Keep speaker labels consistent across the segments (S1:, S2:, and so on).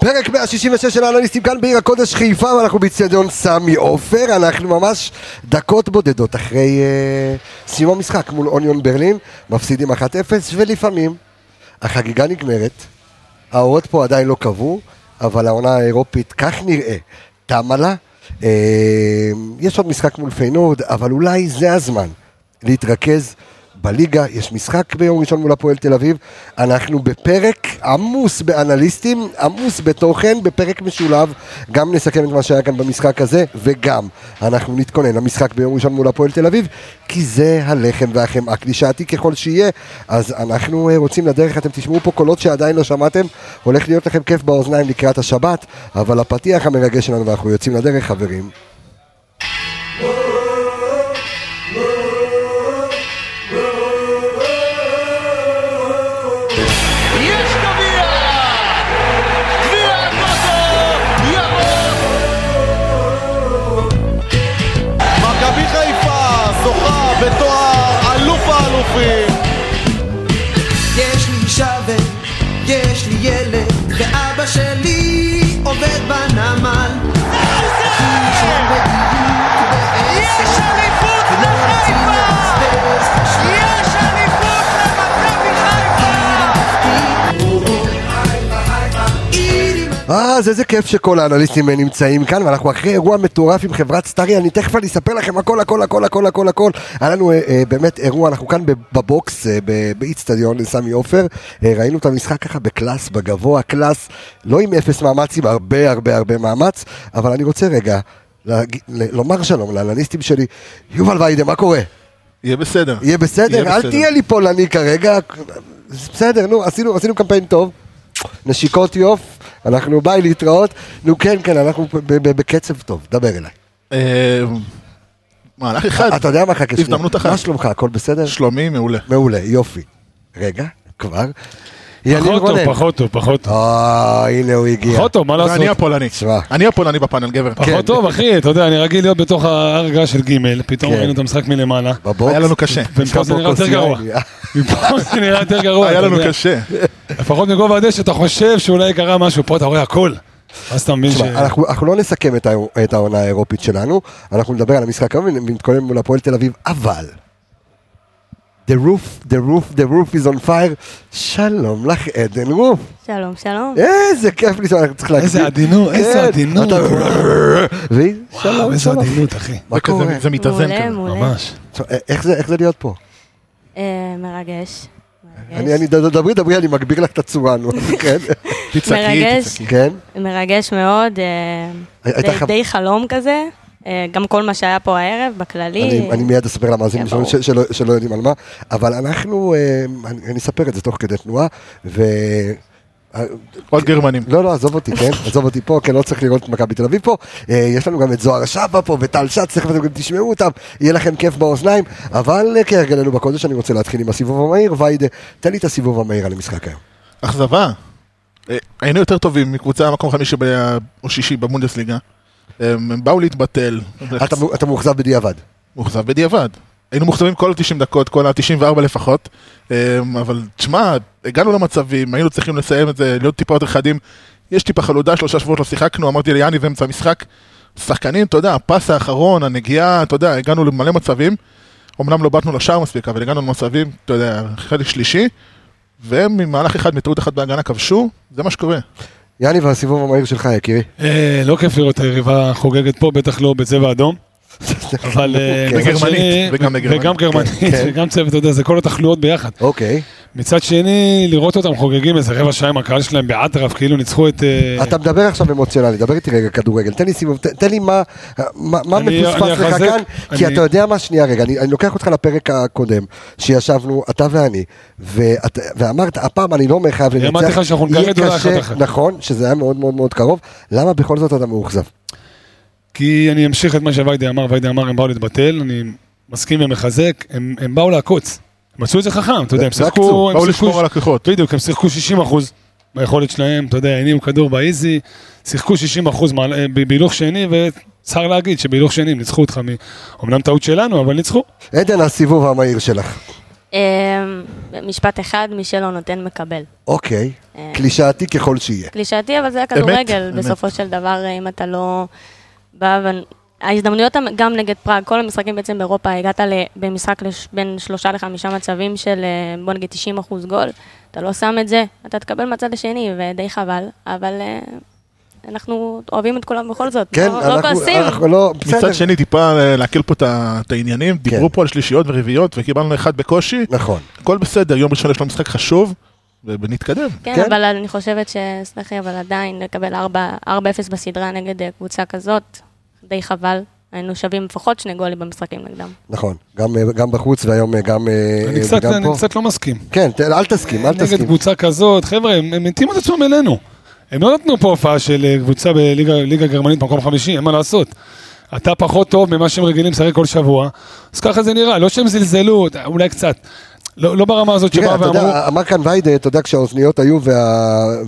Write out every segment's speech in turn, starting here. S1: פרק 166 של האנליסטים כאן בעיר הקודש חיפה, ואנחנו באיצטדיון סמי עופר, אנחנו ממש דקות בודדות אחרי אה, סיום המשחק מול אוניון ברלין, מפסידים 1-0, ולפעמים החגיגה נגמרת, האורות פה עדיין לא קבעו, אבל העונה האירופית, כך נראה, תמה לה. אה, יש עוד משחק מול פיינורד, אבל אולי זה הזמן להתרכז בליגה. יש משחק ביום ראשון מול הפועל תל אביב. אנחנו בפרק עמוס באנליסטים, עמוס בתוכן, בפרק משולב. גם נסכם את מה שהיה כאן במשחק הזה, וגם אנחנו נתכונן למשחק ביום ראשון מול הפועל תל אביב, כי זה הלחם והחמאה, קלישאתי ככל שיהיה. אז אנחנו אה, רוצים לדרך, אתם תשמעו פה קולות שעדיין לא שמעתם, הולך להיות לכם כיף באוזניים לקראת השבת, אבל הפתיח המרגש שלנו ואנחנו יוצאים לדרך, חברים.
S2: יש גביע! גביע הטוטו! יבוא!
S3: מכבי חיפה זוכה בתואר אלוף האלופים
S4: יש לי שווה, יש לי ילד, ואבא שלי עובד בנמל.
S2: יש אליפות לחיפה! יש אליפות למכבי חיפה!
S1: אז איזה כיף שכל האנליסטים אה, נמצאים כאן, ואנחנו אחרי אירוע מטורף עם חברת סטארי, אני תכף אני אספר לכם הכל הכל הכל הכל הכל הכל. היה לנו אה, אה, באמת אירוע, אנחנו כאן בב- בבוקס, אה, ב- באיצטדיון סמי עופר, אה, ראינו את המשחק ככה בקלאס, בגבוה, קלאס, לא עם אפס מאמץ, עם הרבה הרבה הרבה מאמץ, אבל אני רוצה רגע להגיד- ל- לומר שלום לאנליסטים שלי, יובל ויידה, מה קורה?
S3: יהיה בסדר.
S1: יהיה בסדר,
S3: יהיה
S1: אל
S3: בסדר.
S1: תהיה לי פולני כרגע. בסדר, נו, עשינו, עשינו קמפיין טוב. נשיקות יוף, אנחנו ביי להתראות. נו כן, כן, אנחנו ב- ב- בקצב טוב, דבר אליי.
S3: אה, מהלך אחד,
S1: אתה יודע מה, חכה שנייה.
S3: הזדמנות אחת.
S1: מה שלומך, הכל בסדר?
S3: שלומי מעולה.
S1: מעולה, יופי. רגע, כבר. ילין
S5: פחות טוב,
S1: רונן.
S5: פחות טוב, פחות טוב.
S1: אה, הנה הוא הגיע.
S5: פחות טוב, מה לעשות? אה,
S3: ואני הפולני.
S1: תשמע.
S3: אני הפולני בפאנל, גבר.
S1: כן.
S5: פחות טוב, אחי, אתה יודע, אני רגיל להיות בתוך ההרגה של ג', פתאום
S1: כן.
S5: ראינו את המשחק מלמעלה.
S1: בבוקס.
S3: היה לנו קשה.
S5: ומפה זה נראה יותר גרוע. מפה זה נראה יותר גרוע.
S3: היה
S5: אתה
S3: לנו
S5: יודע.
S3: קשה.
S5: לפחות מגובה הדשא אתה חושב שאולי קרה משהו, פה אתה רואה הכל. אז אתה מבין ש...
S1: תשמע, אנחנו, אנחנו לא נסכם את, ה- את העונה האירופית שלנו, אנחנו נדבר על המשחק היום ונתכונן מול הפועל תל אביב, אבל... The roof, the roof, the roof is on fire, שלום לך עדן רוף,
S6: שלום, שלום.
S1: אה, איזה כיף לי, אנחנו צריכים להקדים.
S5: איזה עדינות, איזה
S1: כן,
S5: עדינות.
S1: אתה- והיא,
S5: וואו,
S1: שלום,
S5: אה, איזה
S1: שלום.
S5: עדינות, אחי.
S1: מה
S3: וכזה,
S1: קורה?
S3: זה מתאזן
S6: מעולה,
S1: אה.
S3: כזה.
S6: מעולה.
S5: ממש.
S1: תשמע, א- איך זה- איך זה להיות פה?
S6: אה, מרגש. מרגש.
S1: אני, אני, דברי, דברי, אני מגביר לך את הצורה, נו, כן,
S3: תצעקי,
S6: מרגש.
S3: תצעקי.
S1: כן,
S6: מרגש מאוד. אה,
S1: הייתה
S6: די-
S1: חו-
S6: די חלום כזה. אה, גם כל מה שהיה פה הערב, בכללי.
S1: אני, אני מיד אספר למאזינים
S6: כן,
S1: שלנו
S6: ברור.
S1: ש- שלא, שלא יודעים על מה, אבל אנחנו, אה, אני, אני אספר את זה תוך כדי תנועה, ו... אה,
S3: עוד גרמנים.
S1: לא, לא, עזוב אותי, כן? עזוב אותי פה, כן, לא צריך לראות את מכבי תל אביב פה. אה, יש לנו גם את זוהר שפה פה, וטל שץ, תכף אתם גם תשמעו אותם, יהיה לכם כיף באוזניים, אבל אה, כהרגלנו בקודש, אני רוצה להתחיל עם הסיבוב המהיר, ויידה, תן לי את הסיבוב המהיר על המשחק היום.
S3: אכזבה. אה, היינו יותר טובים מקבוצה מקום חמישי ב- או שישי בבונדסליגה. אה, הם באו להתבטל.
S1: אתה מ- אתה מאוכזב בדיעבד.
S3: מאוכזב בדיעבד. היינו מאוכזבים כל ה-90 דקות, כל ה-94 לפחות, אמ, אבל תשמע, הגענו למצבים, היינו צריכים לסיים את זה, להיות טיפה יותר חדים. יש טיפה חלודה, שלושה שבועות לא שיחקנו, אמרתי ליאני זה אמצע המשחק. שחקנים, אתה יודע, הפס האחרון, הנגיעה, אתה יודע, הגענו למלא מצבים. אמנם לא באתנו לשער מספיק, אבל הגענו למצבים, אתה יודע, חלק שלישי, והם ממהלך אחד, מטעות אחת בהגנה כבשו, זה מה שקורה.
S1: יאני והסיבוב המהיר שלך, יקירי.
S5: אה, לא כיף לראות את היריבה חוגגת פה, בטח לא בצבע אדום. אבל... אה,
S1: כן.
S5: מצד
S3: וגרמנית,
S5: שני-
S3: וגם לגרמנית.
S5: וגם גרמנית,
S1: כן.
S5: וגם צוות, אתה יודע, זה כל התחלואות ביחד.
S1: אוקיי.
S5: מצד שני, לראות אותם חוגגים איזה רבע שעה עם הקהל שלהם באטרף, כאילו ניצחו את... אה,
S1: אתה מדבר עכשיו אמוציונלי, דבר איתי רגע כדורגל, תן לי סיבוב, ת- תן לי מה אה, מה- מה
S5: אני-
S1: מפוספס
S5: אני
S1: לך
S5: אחזק,
S1: כאן, כי
S5: אני-
S1: אתה יודע מה, שנייה רגע, אני אני לוקח אותך לפרק הקודם, שישבנו, אתה ואני, ואת- ואמרת, הפעם אני לא אומר חייב לנצח,
S5: אמרתי לך שאנחנו נגרד
S1: יהיה
S5: אולי
S1: קשה",
S5: אחת אחת.
S1: נכון, שזה היה מאוד מאוד מאוד קרוב, למה בכל זאת אתה מאוכזב?
S5: כי אני אמשיך את מה שוויידי אמר, וויידי אמר, הם באו להתבטל, אני מסכים ומחזק, הם, הם באו לעקוץ. הם מצאו את זה חכם, אתה יודע, הם
S1: לא
S5: שיחקו...
S1: עקצו,
S5: הם
S3: באו
S5: שיחקו-
S3: לשמור על הכוחות.
S5: בדיוק, הם שיחקו 60 אחוז מהיכולת שלהם, אתה יודע, הניעו כדור באיזי, שיחקו 60 אחוז אה, בהילוך שני, וצר להגיד שבהילוך שני הם ניצחו אותך, מ... אמנם טעות שלנו, אבל ניצחו.
S1: עדן, הסיבוב המהיר שלך.
S6: אה, משפט אחד, מי שלא נותן מקבל.
S1: אוקיי,
S6: אה.
S1: קלישאתי ככל שיהיה.
S6: קלישאתי, אבל זה הכדורגל.
S3: אמת.
S6: בסופו של דבר, אם אתה לא בא ו... ההזדמנויות המ- גם נגד פראג, כל המשחקים בעצם באירופה, הגעת ל- במשחק לש- בין שלושה לחמישה מצבים של אה, בוא נגיד 90 אחוז גול, אתה לא שם את זה, אתה תקבל מהצד השני, ודי חבל, אבל אה, אנחנו אוהבים את כולם בכל זאת,
S1: כן,
S6: לא לא
S1: אנחנו-
S6: כועסים.
S1: אנחנו לא, בסדר. כן.
S3: מצד שני, טיפה אה, להקל פה את ה- את העניינים, דיברו פה על שלישיות ורביעיות, וקיבלנו אחד בקושי,
S1: נכון.
S3: הכל בסדר, יום ראשון יש לו משחק חשוב, ונתקדם.
S6: כן,
S1: כן.
S6: כן, אבל אני חושבת ש... סלחי, אבל עדיין לקבל 4 4-0 בסדרה נגד אה, קבוצה כזאת, די חבל. היינו שווים לפחות שני גולים במשחקים נגדם.
S1: נכון, גם, אה, גם בחוץ והיום אה, גם, אה,
S5: אני
S1: אה,
S5: קצת-
S1: וגם
S5: אני
S1: פה.
S5: קצת לא מסכים.
S1: כן, ת- אל תסכים, אל
S5: נגד
S1: תסכים.
S5: קבוצה כזאת, חבר'ה, הם הם התאימו את עצמם אלינו. הם לא נתנו פה הופעה של אה, קבוצה בליגה ליגה גרמנית במקום חמישי, אין מה לעשות. אתה פחות טוב ממה שהם רגילים לשחק כל שבוע, אז ככה זה נראה, לא שהם זלזלו, אולי קצת. לא לא ברמה הזאת
S1: תראה,
S5: שבאה
S1: אתה
S5: ואמרו,
S1: יודע, אמר כאן ויידה, אתה יודע, כשהאוזניות היו וה-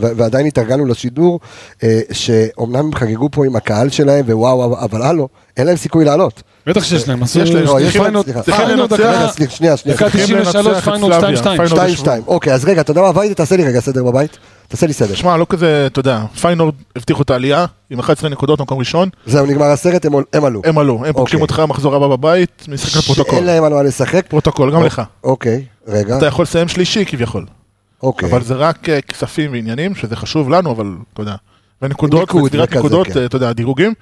S1: ו- ועדיין התארגנו לשידור, אה, שאומנם הם חגגו פה עם הקהל שלהם, ווואו, אבל הלו, אין להם סיכוי לעלות.
S5: בטח שיש להם, עשו
S3: יש להם,
S1: לא, יש להם,
S5: פיינל-
S1: סליחה.
S5: פיינל
S3: צריכים לנצח.
S5: דקה-
S1: רגע, סליחה, שנייה, שנייה.
S5: דקה
S3: צריכים
S5: 93,
S3: לנצח את
S5: פיינל
S3: סלביה,
S5: 2-2.
S3: פיינל
S1: 2-2, אוקיי, אז רגע, אתה יודע מה, ויידה, תעשה לי רגע סדר בבית. תעשה לי סדר.
S3: שמע, לא כזה, אתה יודע, פיינורד הבטיחו את העלייה, עם 11 נקודות במקום ראשון,
S1: זהו, נגמר הסרט, הם עול- הם עלו.
S3: הם עלו, הם פוגשים
S1: אוקיי.
S3: אותך מחזור הבא בבית, משחק לפרוטוקול.
S1: שאין להם על מה לשחק.
S3: פרוטוקול, גם לך.
S1: אוקיי, רגע,
S3: אתה יכול לסיים שלישי כביכול,
S1: אוקיי.
S3: אבל זה רק אה, כספים ועניינים, שזה חשוב לנו, אבל אתה יודע. ונקודות,
S1: ניקוד
S3: וסגירת
S1: וכזה,
S3: נקודות,
S1: כן.
S3: אה, אתה יודע, דירוגים.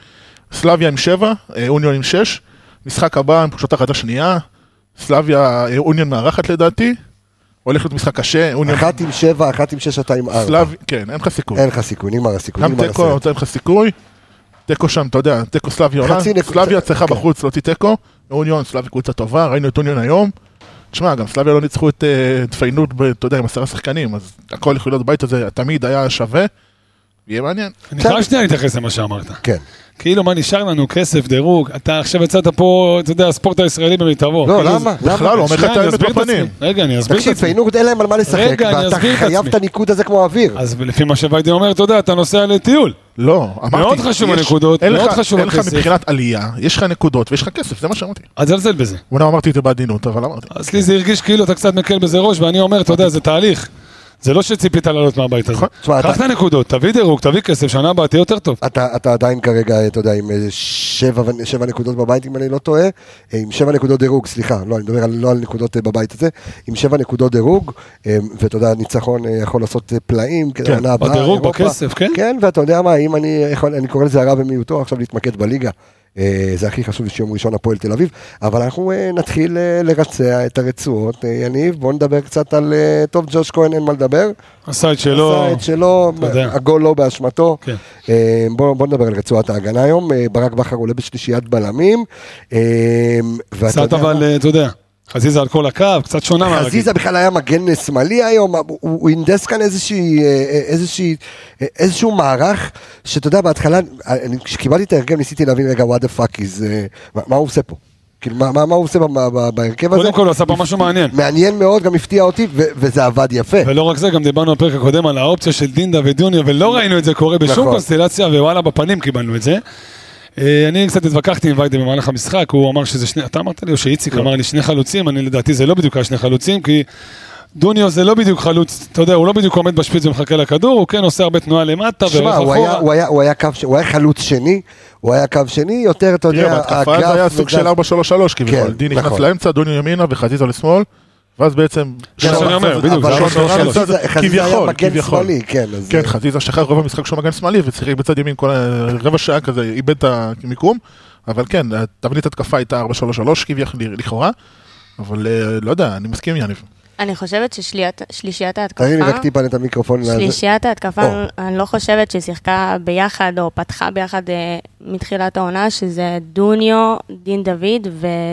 S3: סלאביה עם 7, אוניון עם 6, משחק הבא הם פשוט אחת השנייה, סלאביה, אה, אוניון מארחת לדעתי, הולך להיות משחק קשה, אוניון,
S1: אחת עם שבע, אחת עם שש, אתה עם ארבע. אה,
S3: סלאב, כן, אין לך סיכוי.
S1: אין לך סיכוי, נגמר הסיכוי.
S3: גם
S1: נגמר
S3: תיקו,
S1: הסרט.
S3: נותן לך סיכוי. תיקו שם, אתה יודע, תיקו סלאביה עולה.
S1: חצי נקודה.
S3: סלאביה צריכה
S1: כן.
S3: בחוץ להוציא תיקו. אוניון, סלאביה קבוצה טובה, ראינו את אוניון היום. תשמע, גם סלאביה לא ניצחו את אה, את פיינוט, ב- אתה יודע, עם עשרה שחקנים, אז הכל יכול להיות בבית הזה, תמיד היה שווה. יהיה מעניין.
S5: אני חייב שנייה להתייחס למה שאמרת.
S1: כן.
S5: כאילו, מה נשאר לנו? כסף, דירוג, אתה עכשיו יצאת פה, אתה יודע, הספורט הישראלי במיטבו.
S1: לא,
S5: כאילו,
S1: למה? למה?
S3: בכלל לא אומר לך
S5: שנייה,
S3: את
S5: אני
S3: האמת
S5: אסביר את
S3: בפנים.
S5: עצמי. רגע, אני אסביר את
S1: תקשיב,
S5: עצמי.
S1: פיינורד אין להם על מה לשחק,
S5: רגע, אני
S1: ואתה
S5: אסביר את
S1: חייב
S5: עצמי.
S1: את הניקוד הזה כמו אוויר.
S5: אז לפי מה שוויידי אומר, אתה יודע, אתה נוסע לטיול.
S3: לא, אמרתי.
S5: מאוד חשוב
S3: יש-
S5: הנקודות,
S3: אין
S5: מאוד
S3: לך-
S5: חשוב
S3: אין לך
S5: הכסף.
S3: מבחינת עלייה, יש לך נקודות ויש לך כסף, זה מה שאמרתי.
S5: אל תזלזל בזה.
S1: אוקיי.
S3: אומנם אמרתי את זה בעדינות, אבל אמרתי.
S5: אז לי זה הרגיש כאילו אתה קצת מקל בזה ראש, ואני אומר, אתה יודע, זה תהליך. זה לא שציפית לעלות מהבית הזה.
S3: נכון.
S1: תשמע,
S5: קח את
S1: אתה-
S5: הנקודות, תביא דירוג, תביא כסף, שנה הבאה תהיה יותר טוב.
S1: אתה, אתה עדיין כרגע, אתה יודע, עם איזה שבע, ו- שבע נקודות בבית, אם אני לא טועה, אה, עם שבע נקודות דירוג, סליחה, לא, אני מדבר על, לא על נקודות אה, בבית הזה, עם שבע נקודות דירוג, אה, ואתה יודע, ניצחון אה, יכול לעשות אה, פלאים, כדי
S3: כן,
S1: העונה הבאה,
S5: בדירוג,
S1: אירופה.
S5: בכסף, כן?
S1: כן, ואתה יודע מה, אם אני יכול, אני קורא לזה הרע במיעוטו, עכשיו להתמקד בליגה. אה, זה הכי חשוב שיום ראשון הפועל תל אביב, אבל אנחנו אה, נתחיל אה, לרצע את הרצועות. אה, יניב, בוא נדבר קצת על... אה, טוב, ג'וש כהן אין מה לדבר.
S5: עשה את שלו.
S1: אה, עשה את שלו,
S5: אתה יודע.
S1: הגול לא באשמתו.
S5: כן.
S1: אה, בואו בוא נדבר על רצועת ההגנה היום, אה, ברק בכר עולה בשלישיית בלמים. אה, ואתה
S5: קצת
S1: יודע מה?
S5: אבל, אה, אתה יודע, חזיזה על כל הקו, קצת שונה מהרגיל.
S1: חזיזה בכלל היה מגן שמאלי היום, הוא- הוא הנדס כאן איזושהי, אה, אה, איזושהי, אה, איזשהו מערך, שאתה יודע, בהתחלה, אה, אני- כשקיבלתי את ההרכב ניסיתי להבין רגע, what the fuck is, אה, מה- מה הוא עושה פה? כאילו, מה, מה, מה הוא עושה ב- ב- בהרכב הזה?
S5: קודם כל הוא עשה פה משהו מעניין.
S1: מעניין מאוד, גם הפתיע אותי, ו- וזה עבד יפה.
S5: ולא רק זה, גם דיברנו בפרק הקודם על האופציה של דינדה ודוניה, ולא ראינו את זה קורה בשום
S1: נכון.
S5: קונסטלציה, ווואלה, בפנים קיבלנו את זה. אה, אני קצת התווכחתי עם ויידה במהלך המשחק, הוא אמר שזה שני, אתה אמרת לי, או שאיציק
S1: לא.
S5: אמר לי שני חלוצים, אני לדעתי זה לא בדיוק היה שני חלוצים, כי דוניו זה לא בדיוק חלוץ, אתה יודע, הוא לא בדיוק עומד בשפיץ ומחכה לכדור, הוא כן עושה הרבה תנועה למטה,
S1: תשמע,
S5: והולך
S1: הוא היה-
S5: אחורה.
S1: הוא היה- הוא היה קו ש- הוא היה חלוץ שני, הוא היה קו שני, יותר, אתה
S3: תראה,
S1: יודע,
S3: בהתקפה זה היה סוג
S1: וזה-
S3: של 4-3-3 כביכול.
S1: כן,
S3: דין נכנס
S1: נכון.
S3: לאמצע, דוניו ימינה וחזיזה לשמאל, ואז בעצם...
S5: זה מה שאני אומר,
S1: אבל-
S5: בדיוק,
S1: אבל
S5: זה היה
S1: חזיזה-
S5: שלוש,
S1: חזיזה היה
S3: כביכול,
S1: מגן
S3: כביכול.
S1: שמאלי, כן, אז-
S3: כן, חזיזה שכח רוב המשחק שהוא מגן שמאלי ושיחק בצד ימין כל ה- רבע שעה כזה, איבד את המיקום, אבל כן, תבנית התקפה הייתה 4-3-3 כביכול, לכאורה, אבל אה, לא יודע, אני מסכים עם יניב.
S6: אני חושבת ששלישיית ההתקפה...
S1: תראי לי רק טיפה את המיקרופון. לזה.
S6: שלישיית ההתקפה,
S1: או.
S6: אני לא חושבת ששיחקה ביחד או פתחה ביחד אה, מתחילת העונה, שזה דוניו, דין דוד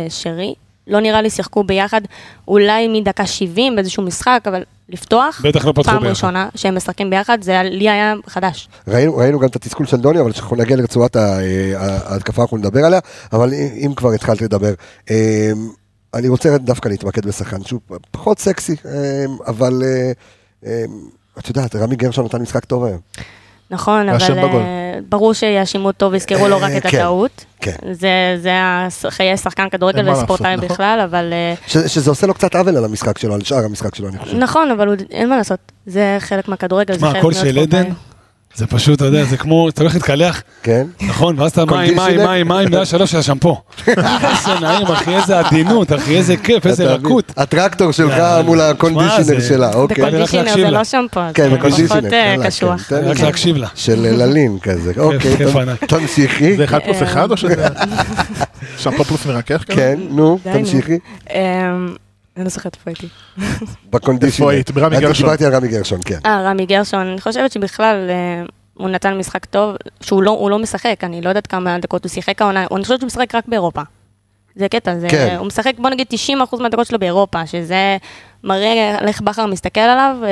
S6: ושרי. לא נראה לי שיחקו ביחד אולי מדקה 70 באיזשהו משחק, אבל לפתוח,
S5: בטח לא פתחו
S6: פעם
S5: ביחד.
S6: ראשונה שהם משחקים ביחד, זה היה- לי היה חדש.
S1: ראינו ראינו גם את התסכול של דוני, אבל כשאנחנו נגיע לרצועת ה- אה, ההתקפה אנחנו נדבר עליה, אבל אם אם כבר התחלת לדבר. אה, אני רוצה דווקא להתמקד בשחקן שהוא פחות סקסי, אה, אמ, אבל אה, אה, את יודעת, רמי גרשון נתן משחק טוב היום.
S6: נכון, אבל
S3: אשם בגול.
S6: אה, ברור שיאשימו אותו ויזכרו לו רק
S1: אה,
S6: את
S1: כן,
S6: הטעות.
S1: כן.
S6: זה, זה הס- חיי שחקן
S3: אין
S6: כדורגל
S3: מה
S6: וספורטאי
S3: לעשות, נכון.
S6: בכלל, אבל... אה,
S1: ש- שזה עושה לו קצת עוול על המשחק שלו, על שאר המשחק שלו, אני חושב.
S6: נכון, אבל הוא- אין מה לעשות, זה חלק מהכדורגל, זה
S5: מה,
S6: חלק
S5: הקול של
S6: ספורטאי.
S5: עדן? זה פשוט, אתה יודע, זה כמו, אתה הולך להתקלח,
S1: כן?
S5: נכון, ואז אתה מים,
S1: קונדישנר?
S5: מים, מים, מים, זה היה שלוש של השמפו. איזה נעים, אחי, איזה עדינות, אחי, איזה כיף, איזה
S1: אתה מבין?
S5: רכות.
S1: הטרקטור שלך
S5: יאללה.
S1: מול
S5: שמע,
S1: הקונדישיונר
S5: זה-
S1: שלה, אוקיי.
S5: אני הולך
S6: בקונדישיונר
S5: להקשיב
S6: זה
S5: לה.
S6: לא שמפו,
S1: כן,
S6: זה
S1: בקונדישיונר.
S6: פחות אה,
S1: יאללה,
S6: קשוח.
S1: כן, תן
S5: רק
S1: לי.
S5: להקשיב לה.
S1: של ללין כזה, אוקיי,
S5: כיף
S1: תמ-
S5: ענק.
S1: תמשיכי,
S3: זה אחד פלוס
S6: אה.
S3: אחד או שזה... שמפו פלוס מרכך? כאילו? כזה?
S1: כן, נו,
S6: די, נו.
S1: תמשיכי,
S6: אמ, אני לא זוכרת איפה הייתי.
S1: בקונדישיונר.
S3: איפה היית? ברמי
S1: אני
S3: גרשון.
S1: דיברתי על רמי גרשון, כן.
S6: אה, רמי גרשון, אני חושבת שבכלל אה, הוא נתן משחק טוב, שהוא לא, הוא לא משחק, אני לא יודעת כמה דקות הוא שיחק העונה, אני חושבת שהוא משחק רק באירופה. זה קטע, זה,
S1: כן.
S6: הוא משחק בוא נגיד 90% מהדקות שלו באירופה, שזה מראה על איך בכר מסתכל עליו. אה,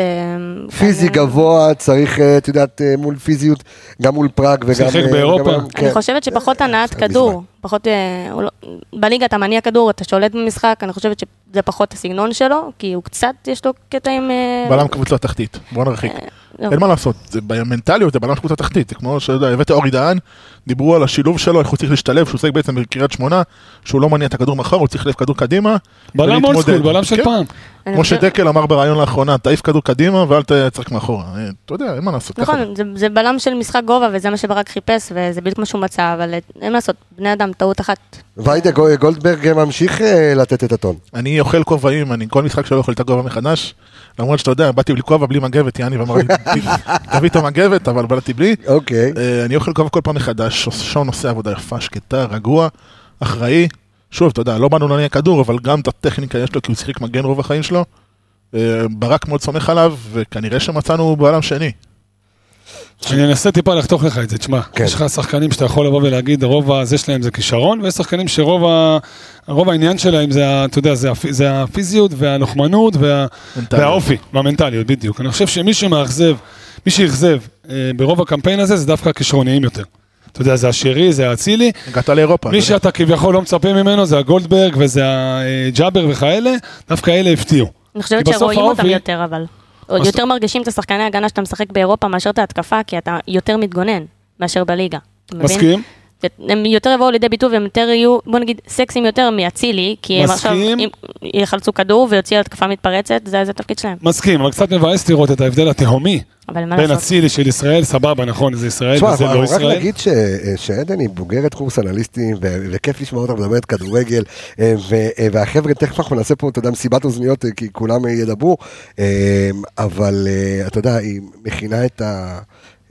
S1: פיזי
S6: אני-
S1: גבוה, צריך, אה, את יודעת, אה, מול פיזיות, גם מול פראג וגם...
S5: שיחק
S1: אה,
S5: באירופה.
S1: גם-
S6: אני
S1: כן.
S6: חושבת שפחות
S3: אה,
S6: הנעת
S1: משחק
S6: כדור, פחות, אה, הוא לא- בליגה אתה מניע כדור, אתה שולט במשחק, אני חושבת שזה פחות הסגנון שלו, כי הוא קצת, יש לו קטע עם... אה,
S3: בלם קבוצה תחתית, בוא נרחיק.
S6: לא.
S3: אין מה לעשות, זה במנטליות, זה בלם של קבוצה תחתית, זה כמו שאתה יודע, הבאת אורי דהן, דיברו על השילוב שלו, איך הוא צריך להשתלב, שהוא עוסק בעצם בקריית שמונה, שהוא לא מניע את הכדור מאחור, הוא צריך להעיף כדור קדימה.
S5: בלם
S3: ולהתמודד.
S5: אולד סקול, בלם של
S3: כן.
S5: פעם.
S6: אני
S3: כמו
S6: חושבת-
S3: שדקל אמר בריאיון לאחרונה, תעיף כדור קדימה ואל תצחק מאחורה. אה, אתה יודע, אין מה לעשות. ככה זה.
S6: נכון, זה, זה בלם של משחק גובה, וזה מה שברק חיפש, וזה בדיוק מה שהוא מצא, אבל אה, אין מה לעשות, בני אדם, טעות אחת.
S1: ויידה גו- גולדברג ממשיך אה, לתת את הטון.
S3: אני אוכל כובעים, אני כל משחק שלא אוכל את הכובע מחדש, למרות שאתה יודע, באתי בלי כובע, בלי מגבת, יעני, ואמר לי, תביא את המגבת, אבל באתי בלי.
S1: אוקיי.
S3: אה, אני אוכל כובע כל פעם מחדש, שון עושה עבודה יפה, שקטה, רגוע, אחראי. שוב, אתה יודע, לא באנו להניע כדור, אבל גם את הטכניקה יש לו, כי הוא שיחק מגן רוב החיים שלו. אה, ברק מאוד סומך עליו, וכנראה שמצאנו בלם שני.
S5: אני אנסה טיפה לחתוך לך את זה, תשמע,
S1: כן.
S5: יש לך שחקנים שאתה יכול לבוא ולהגיד, רוב הזה שלהם זה כישרון, ויש שחקנים שרוב ה- רוב העניין שלהם זה, ה- אתה יודע, זה הפ- זה הפיזיות והלוחמנות וה-
S3: מנטליות.
S5: והאופי, והמנטליות, בדיוק. אני חושב שמי שמאכזב, מי שאכזב אה, ברוב הקמפיין הזה, זה דווקא הכישרוניים יותר. אתה יודע, זה השירי, זה האצילי,
S3: הגעת לאירופה.
S5: מי
S3: אתה יודע.
S5: שאתה כביכול לא מצפה ממנו זה הגולדברג וזה הג'אבר וכאלה, דווקא אלה הפתיעו.
S6: אני חושבת
S5: כי בסוף
S6: שרואים אותם
S5: האופי-
S6: יותר, אבל. עוד
S5: אז-
S6: יותר מרגישים את השחקני הגנה שאתה משחק באירופה מאשר את ההתקפה, כי אתה יותר מתגונן מאשר בליגה. אתה מבין?
S5: מסכים?
S6: זה- הם יותר יבואו לידי ביטוי והם יותר יהיו, בוא נגיד, סקסים יותר מאצילי, כי הם עכשיו
S5: מסכים.
S6: אם- יחלצו כדור ויוציאו התקפה מתפרצת, זה זה התפקיד שלהם.
S5: מסכים, אבל קצת מבאס לראות את ההבדל התהומי
S6: אבל מה
S5: בין
S6: לעשות?
S5: אצילי של ישראל, סבבה, נכון, זה ישראל
S1: תשמע,
S5: וזה
S1: אבל
S5: לא
S1: רק
S5: ישראל.
S1: נגיד ש- שעדן היא בוגרת קורס אנליסטים, ו- וכיף לשמוע אותה מדברת כדורגל, אה, ו- אה, והחבר'ה, תכף אנחנו נעשה פה, אתה יודע, מסיבת אוזניות, אה, כי כולם אה, ידברו, אה, אבל אה, אתה יודע, היא מכינה את ה...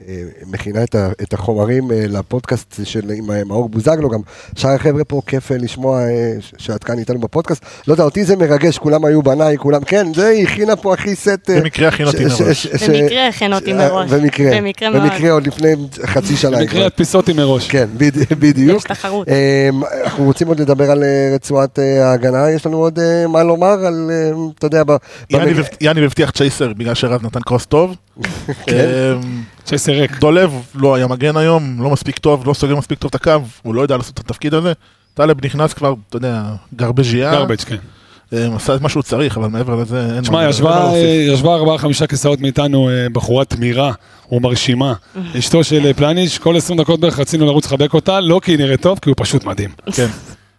S1: אה, מכינה את ה- את החומרים אה, לפודקאסט של עם אה, מאור בוזגלו, גם שאר החבר'ה פה, כיף אה, לשמוע אה, ש- שאת כאן איתנו בפודקאסט. לא יודע, אותי זה מרגש, כולם היו בניי, כולם, כן, זה היא הכינה פה הכי סט... אה,
S3: במקרה הכין אותי
S1: ש- ש-
S3: מראש.
S1: ש- ש-
S6: במקרה הכין אותי
S1: אה,
S6: מראש.
S1: במקרה,
S6: במקרה מאוד.
S1: במקרה עוד לפני חצי שנה.
S5: במקרה
S1: כבר.
S5: הדפיסות היא מראש.
S1: כן, בד- בדיוק.
S6: יש תחרות.
S1: אמ, אנחנו רוצים עוד לדבר על אה, רצועת אה, ההגנה, יש לנו עוד אה, מה לומר על, אה, אתה יודע, ב-
S3: יאני
S1: במק-
S3: והבט- יאני הבטיח צ'ייסר בגלל שרז נתן קרוס טוב. אמ,
S5: צ'סר ריק.
S3: דולב לא היה מגן היום, לא מספיק טוב, לא סוגר מספיק טוב את הקו, הוא לא יודע לעשות את התפקיד הזה. טלב נכנס כבר, אתה יודע, גרבג'יה,
S5: גרבג' כן.
S3: אמ, עשה את מה שהוא צריך, אבל מעבר לזה אין מה...
S5: תשמע,
S3: אין מה
S5: ישבה,
S3: להוסיף.
S5: אה, ישבה ארבעה חמישה כיסאות מאיתנו אה, בחורה תמירה ומרשימה. אשתו של אה, פלניש, כל 20 דקות בערך רצינו לרוץ לחבק אותה, לא כי היא נראית טוב, כי הוא פשוט מדהים.
S3: כן.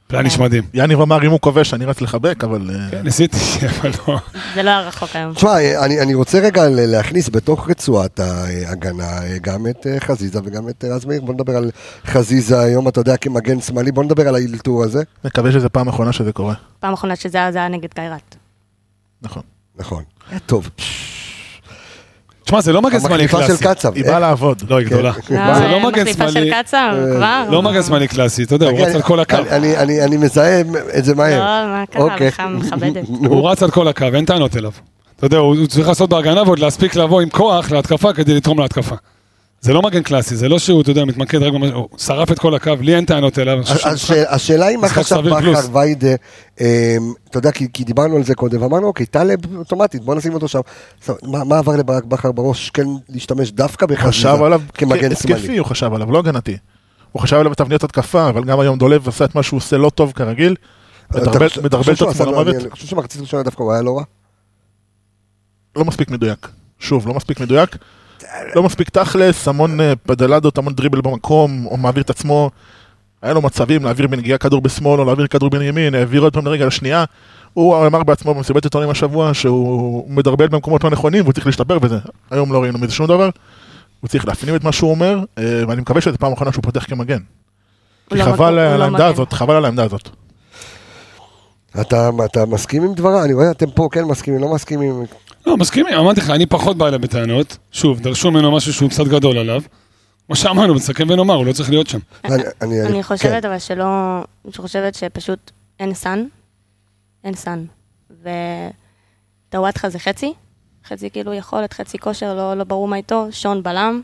S5: פלניש מדהים.
S3: יניב אמר, אם הוא כובש, אני רץ לחבק, אבל... אה,
S5: ניסיתי, אבל לא.
S6: זה לא היה רחוק היום.
S1: תשמע, אה, אני אני רוצה רגע ל- להכניס בתוך רצועת ההגנה אה, גם את אה, חזיזה וגם את אה, רז מאיר, בוא נדבר על חזיזה היום, אתה יודע, כמגן שמאלי, בוא נדבר על האילתור הזה.
S3: נקווה שזו פעם אחרונה שזה קורה.
S6: פעם אחרונה שזה היה, זה היה נגד קיירת.
S5: כן,
S3: נכון.
S1: נכון. היה טוב.
S5: תשמע, זה לא מגן שמאלי
S1: המחליפה של
S5: קלאסי.
S1: קצב.
S3: היא באה לעבוד.
S5: לא,
S1: כן.
S5: היא גדולה. זה לא מגן
S6: אה, מחליפה
S5: שמאלי.
S6: של קצב, כבר?
S5: לא מגן שמאלי קלאסי, אתה יודע, הוא רץ על כל הקו.
S1: אני- אני- אני- אני מזהה את זה
S6: לא,
S1: מהר.
S6: מה קרה,
S1: אוקיי.
S6: בכלל מכבדת.
S5: הוא רץ על כל הקו, אין טענות אליו. אתה יודע, הוא הוא צריך לעשות בהגנה ועוד להספיק לבוא עם כוח להתקפה כדי לתרום להתקפה. זה לא מגן קלאסי, זה לא שהוא, אתה יודע, מתמקד רק במה... הוא שרף את כל הקו, לי אין טענות אליו. אני חושב שהוא
S1: אז הש- השאלה היא מה
S5: משחק
S1: חשב
S5: סביר פלוס.
S1: בכר ויידה, אמ, אתה יודע, כי כי דיברנו על זה קודם, ואמרנו, אוקיי, טלב אוטומטית, בוא נשים אותו שם. עכשיו, מה מה עבר לברק בכר בראש, כן להשתמש דווקא
S3: הוא
S1: בחזיזה
S3: חשב עליו
S1: כמגן שמאלי?
S3: התקפי, הוא חשב עליו, לא הגנתי. הוא חשב עליו בתבניות התקפה, אבל גם היום דולב עשה את מה שהוא עושה לא טוב כרגיל.
S1: אתה
S3: מדרבל-
S1: חושב-
S3: מדרבל
S1: חושב
S3: את
S1: שהוא
S3: עצמו
S1: עשה-
S3: למוות.
S1: אני חושב שמחצית ראשונה דווקא הוא היה לא רע.
S3: לא מספיק מדויק. שוב, לא מספיק מדויק. לא מספיק תכלס, המון אה, פדלדות, המון דריבל במקום, הוא מעביר את עצמו. היה לו מצבים להעביר בנגיעה כדור בשמאל או להעביר כדור בימין, העביר עוד פעם לרגל השנייה. הוא אמר בעצמו במסיבת עיתונאים השבוע שהוא מדרבל במקומות לא נכונים והוא צריך להשתפר בזה. היום לא ראינו מזה שום דבר. הוא צריך להפנים את מה שהוא אומר, אה, ואני מקווה שזו פעם אחרונה שהוא פותח כמגן.
S6: הוא
S3: כי
S6: לא
S3: חבל
S6: מגן, הוא
S3: על
S6: לא
S3: העמדה
S6: מגן.
S3: הזאת, חבל על העמדה הזאת.
S1: אתה, אתה מסכים עם דבריי? אני רואה, אתם פה כן מסכימים, לא מסכימים.
S5: לא, מסכימים, אמרתי לך, אני פחות בא אליו בטענות. שוב, דרשו ממנו משהו שהוא קצת גדול עליו. כמו שאמרנו, נסכם ונאמר, הוא לא צריך להיות שם.
S1: אני, אני,
S6: אני
S1: כן.
S6: חושבת אבל שלא, אני חושבת שפשוט אין סאן, אין סאן. וטוואטחה זה חצי, חצי כאילו יכולת, חצי כושר, לא, לא ברור מה איתו, שון בלם,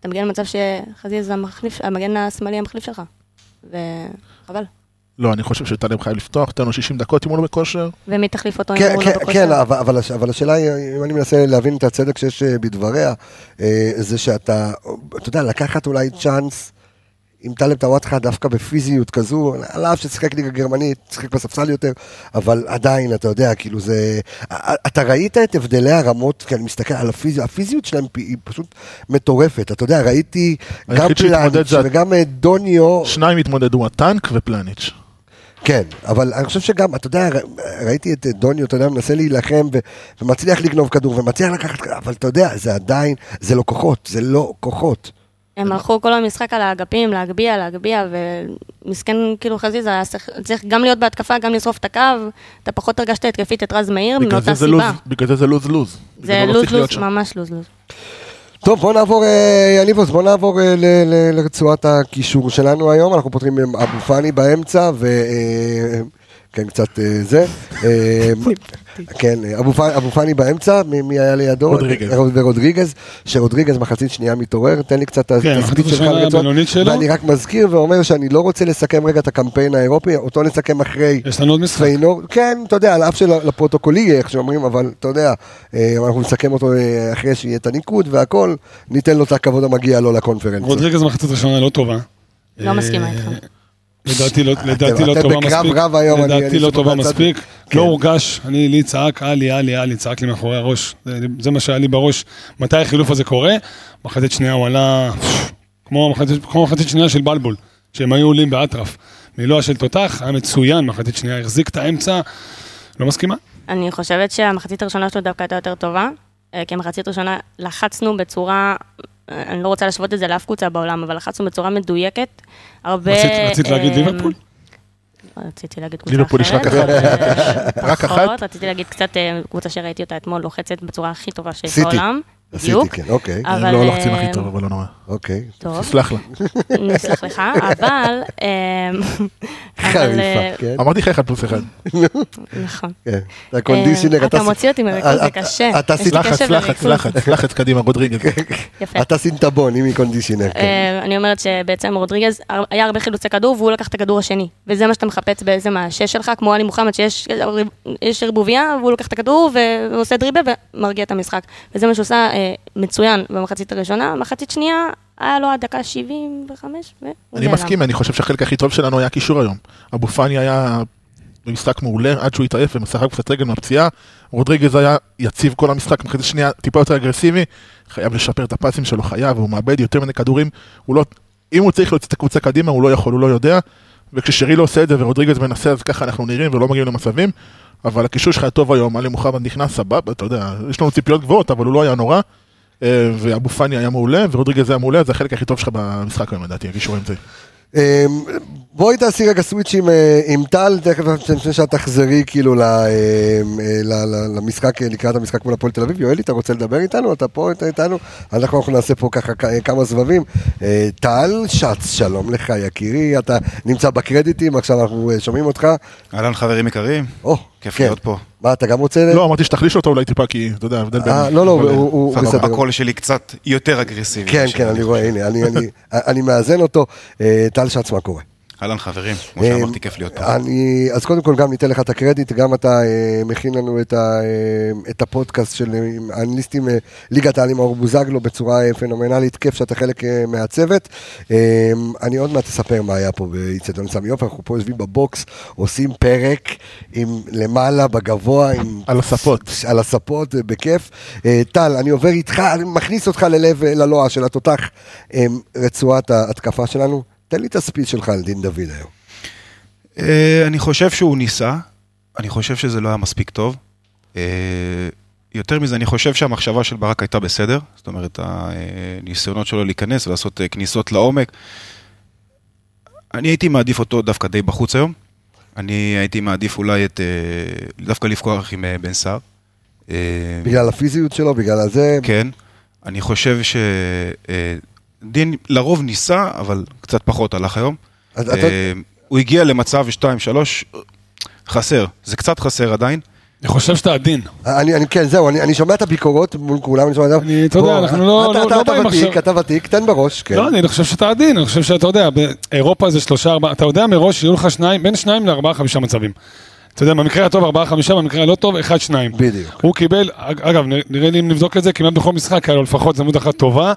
S6: אתה מגיע למצב שחזיז זה המחליף, המגן השמאלי המחליף שלך, וחבל.
S3: לא, אני חושב שטלב חייב לפתוח, תן לו 60 דקות אם הוא לא בכושר.
S6: ומי תחליף אותו אם
S1: כן,
S6: הוא
S1: כן,
S6: לא בכושר?
S1: כן, אבל, אבל, הש- אבל השאלה היא, אם אני מנסה להבין את הצדק שיש אה, בדבריה, אה, זה שאתה, אתה יודע, לקחת אולי צ'אנס עם טלב טוואטחה דווקא בפיזיות כזו, על אף ששיחק ליגה גרמנית, שיחק בספסל יותר, אבל עדיין, אתה יודע, כאילו זה... אתה ראית את הבדלי הרמות, כי אני מסתכל על הפיזיות, הפיזיות שלהם פ- היא פשוט מטורפת, אתה יודע, ראיתי גם
S3: היחיד שהתמודד
S1: פילאניץ'
S3: זה-
S1: וגם אה, דוניו,
S3: שניים התמודדו, הטנק ופלניץ'.
S1: כן, אבל אני חושב שגם, אתה יודע, ר- ראיתי את דוניו, אתה יודע, מנסה להילחם ו- ומצליח לגנוב כדור ומצליח לקחת, אבל אתה יודע, זה עדיין, זה לא כוחות, זה לא כוחות.
S6: הם הלכו כל המשחק על האגפים, להגביה, להגביה, ומסכן כאילו חזיז היה צריך, צריך גם להיות בהתקפה, גם לשרוף את הקו, אתה פחות הרגשת התקפית את רז מאיר,
S3: בגלל
S6: מאותה
S3: זה זה
S6: לא
S3: לא
S6: סיבה.
S3: לוז, בגלל זה זה לוז לוז.
S6: זה
S3: לא צריך להיות
S6: לוז-לוז,
S3: שם.
S6: ממש לוז-לוז.
S1: טוב, בוא נעבור, אה, יניב עוז, בוא נעבור אה, ל- ל- לרצועת הקישור שלנו היום, אנחנו פותרים עם אבו פאני באמצע, ו... אה, כן, קצת אה, זה. אה, כן, אה, אבו פאני- אבו פאני באמצע, מי מי היה לידו?
S3: רודריגז.
S1: אה, ורודריגז, שרודריגז מחצית שנייה מתעורר, תן לי קצת את
S5: כן, מחצית
S1: התסביב שלך
S5: ראשונה
S1: על הרצועה.
S5: הבינונית שלו.
S1: ואני רק מזכיר ואומר שאני לא רוצה לסכם רגע את הקמפיין האירופי, אותו נסכם אחרי
S5: יש לנו עוד משחק.
S1: פיינור, כן, אתה יודע, על אף שלפרוטוקול יהיה, איך שאומרים, אבל אתה יודע, אה, אנחנו נסכם אותו אה, אחרי שיהיה את הניקוד והכל, ניתן לו את הכבוד המגיע לו לקונפרנס.
S5: רודריגז מחצית ראשונה לא טובה.
S6: לא
S5: אה,
S6: מסכימה איתך.
S5: לדעתי לא, לדעתי
S1: אתם
S5: לא טובה
S1: בקרב
S5: מספיק,
S1: רב היום, אני-
S5: לדעתי
S1: אני
S5: לא
S1: סופר
S5: טובה
S1: מהצד.
S5: מספיק,
S1: כן.
S5: לא הורגש, אני, לי צעק, עלי, עלי, עלי, צעק לי מאחורי הראש, זה, זה מה שהיה לי בראש, מתי החילוף הזה קורה, מחצית שנייה הוא עלה כמו מחצית, כמו מחצית שנייה של בלבול, שהם היו עולים באטרף, מילואה של תותח, היה מצוין, מחצית שנייה, החזיק את האמצע, לא מסכימה,
S6: אני חושבת שהמחצית הראשונה שלו דווקא הייתה יותר טובה, אה, כי המחצית הראשונה לחצנו בצורה, אה, אני לא רוצה להשוות את זה לאף קבוצה בעולם, אבל לחצנו בצורה מדויקת. הרבה...
S5: רצית, רצית להגיד
S6: אה, לא,
S5: ליברפול?
S6: רציתי להגיד קבוצה אחרת.
S3: ליברפול יש רק אחת.
S6: אחת.
S3: רק אחת?
S6: רציתי להגיד קצת אה, קבוצה שראיתי אותה אתמול לוחצת בצורה הכי טובה שיש
S1: סיטי.
S6: בעולם.
S1: עשיתי, כן, אוקיי,
S6: אבל,
S3: הם לא לוחצים
S6: אה, כן.
S3: הכי טוב, אבל לא נורא.
S1: אוקיי.
S6: טוב,
S3: תסלח לה.
S6: נסלח לך, אבל... אה, אבל, אה,
S1: חריפה, כן.
S3: אמרתי לך אחד פלוס אחד.
S6: נכון.
S1: כן. אתה קונדישיונר,
S6: אה, אתה מוציא אותי מריכוז, זה
S1: אתה-
S6: קשה.
S1: אתה
S6: יש
S1: עשית-
S6: לי
S3: לחץ,
S6: קשב
S3: לחץ,
S6: וריכוז.
S3: לחץ, לחץ קדימה, רודריגז.
S6: יפה.
S1: אתה סינטבון, אם היא קונדישיונר. כן.
S6: אה, אני אומרת שבעצם רודריגז, הר- היה הרבה חילוצי כדור והוא לקח את הכדור השני. וזה מה שאתה מחפץ בעצם מהשש שלך, כמו עלי מוחמד, שיש יש ערבוביה, והוא לוקח את הכדור ועושה דריבה ומרגיע את המשחק. וזה מה שהוא עושה אה, מצוין במחצית הראשונה. מחצית שנייה, היה לו עד דקה 75, ו...
S3: אני מסכים, אני חושב שהחלק הכי טוב שלנו היה קישור היום. אבו פאני היה במשחק מעולה עד שהוא התעייף ומשחק קצת רגל מהפציעה. רודריגז היה יציב כל המשחק, מחצית שנייה טיפה יותר אגרסיבי. חייב לשפר את הפסים שלו, חייב, הוא מאבד יותר מני כדורים. הוא לא, אם הוא צריך להוציא את הקבוצה קדימה, הוא לא יכול, הוא לא יודע. וכששרי לא עושה את זה ורודריגז מנסה, אז ככה אנחנו נראים ולא מגיעים למצבים. אבל הקישור שלך היה טוב היום, עלי מוחמד נכנס, סבבה, אתה יודע, יש לנו ציפיות גבוהות, אבל הוא לא היה נורא. אה, ואבו פאני היה מעולה, ורודריגז היה מעולה, זה החלק הכי טוב שלך במשחק היום לדעתי, הקישור האמצעי.
S1: אמ, בואי תעשי רגע סוויץ' עם, אה, עם טל, תכף לפני שאת תחזרי כאילו ל- אמ, אה, ל- ל- למשחק, אה, לקראת המשחק מול הפועל תל אביב. יואלי, אתה רוצה לדבר איתנו? אתה פה אתה איתנו? אנחנו, אנחנו נעשה פה ככה כ- אה, כמה סבבים. אה, טל שץ, שלום לך יקירי, אתה נמצא בקרדיטים, עכשיו אנחנו אה, שומעים אותך.
S7: אהלן חברים יקרים,
S1: או,
S7: כיף
S1: כן.
S7: להיות פה.
S1: מה, אתה גם רוצה?
S3: לא, אמרתי שתחליש אותו אולי טיפה, כי אתה יודע, ההבדל בין...
S1: אה, לא, לא,
S3: אבל-
S1: הוא- הוא הוא
S7: בסך הכל
S1: בסדר.
S7: הקול שלי קצת יותר אגרסיבי.
S1: כן,
S7: משלך.
S1: כן, אני רואה, הנה, אני- אני- אני מאזן אותו. אה, טל שץ, מה קורה?
S7: אהלן חברים, כמו שאמרתי, כיף להיות פה.
S1: אמ, אני, אז קודם כל גם ניתן לך את הקרדיט, גם אתה אה, מכין לנו את, ה, אה, את הפודקאסט של אה, האנליסטים אה, ליגת העל עם האור בוזגלו בצורה אה, פנומנלית, כיף שאתה חלק אה, מהצוות. אה, אני עוד מעט אספר מה היה פה באיצטדיון סמי עופר, אנחנו פה יושבים בבוקס, עושים פרק עם למעלה, בגבוה, עם...
S3: על הספות.
S1: על הספות, אה, בכיף. אה, טל, אני עובר איתך, אני מכניס אותך ללב, אה, ללוע של התותח, אה, רצועת ההתקפה שלנו. תן לי את הספיץ שלך על דין דוד היום.
S7: אה, אני חושב שהוא ניסה, אני חושב שזה לא היה מספיק טוב. אה, יותר מזה, אני חושב שהמחשבה של ברק הייתה בסדר, זאת אומרת, הניסיונות שלו להיכנס ולעשות אה, כניסות לעומק. אני הייתי מעדיף אותו דווקא די בחוץ היום. אני הייתי מעדיף אולי את... אה, דווקא לפקוח עם אה, בן סער. אה,
S1: בגלל הפיזיות שלו, בגלל הזה,
S7: כן. אני חושב ש... אה, דין לרוב ניסה, אבל קצת פחות הלך היום.
S1: אז אתה-
S7: אה, הוא הגיע למצב 2-3, חסר, זה קצת חסר עדיין.
S5: אני חושב שאתה עדין.
S1: אני, אני, כן, זהו, אני, אני שומע את הביקורות מול כולם, אני שומע את זה.
S5: אני- אתה יודע,
S1: בוא,
S5: אנחנו לא-
S1: אתה,
S5: לא-
S1: אתה,
S5: לא
S1: אתה
S5: באים
S1: ותיק,
S5: עכשיו.
S1: אתה ותיק, תן בראש, כן.
S5: לא, אני לא חושב שאתה עדין, אני חושב שאתה יודע, באירופה זה שלושה, ארבעה, אתה יודע מראש שיהיו לך שניים, בין שניים לארבעה, חמישה מצבים. אתה יודע, במקרה הטוב ארבעה, חמישה, במקרה הלא טוב, אחד, שניים.
S1: בדיוק.
S5: הוא קיבל, אג- אגב, נ- נראה לי אם נבדוק את זה, כמעט בכל משחק היה לו לפחות הזדמנות אחת טובה.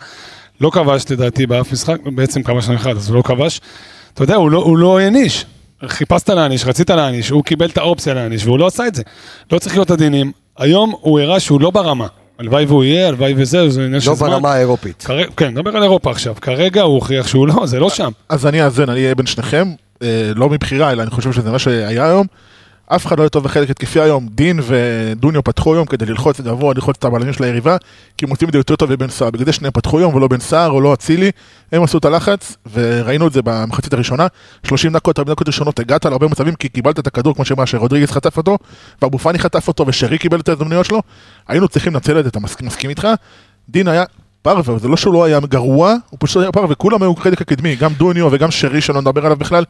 S5: לא כבש לדעתי באף משחק, בעצם כבש לנו אחד, אז הוא לא כבש. אתה יודע, הוא לא, הוא לא העניש. חיפשת להעניש, רצית להעניש, הוא קיבל את האופציה להעניש, והוא לא עשה את זה. לא צריך להיות עדינים. היום הוא הראה שהוא לא ברמה. הלוואי והוא יהיה, הלוואי וזה, זה עניין של
S1: לא
S5: זמן.
S1: ברמה האירופית.
S5: כרגע, כן, נדבר על אירופה עכשיו. כרגע הוא הוכיח שהוא לא, זה לא שם.
S3: אז אני אאזן, אני אהיה בין שניכם, אה, לא מבחירה, אלא אני חושב שזה מה שהיה היום. אף אחד לא היה טוב בחלק התקפי היום, דין ודוניו פתחו היום כדי ללחוץ גבוה, ללחוץ את הבלמים של היריבה, כי הם עושים את זה יותר טוב מבן סער, בגלל זה שניהם פתחו היום ולא בן סער או לא אצילי, הם עשו את הלחץ, וראינו את זה במחצית הראשונה, 30 דקות, 40 דקות ראשונות הגעת להרבה מצבים, כי קיבלת את הכדור כמו שמה שרודריגז חטף אותו, ואבו פאני חטף אותו, ושרי קיבל את ההזדמנויות שלו, היינו צריכים לנצל את זה, אתה מסכים מסכים איתך? דין היה פרווה, זה לא שהוא לא היה גרוע, הוא פשוט היה פרווה, כולם היו חלק הקדמי, גם דוניו וגם שרי שלא נדבר עליו בכלל,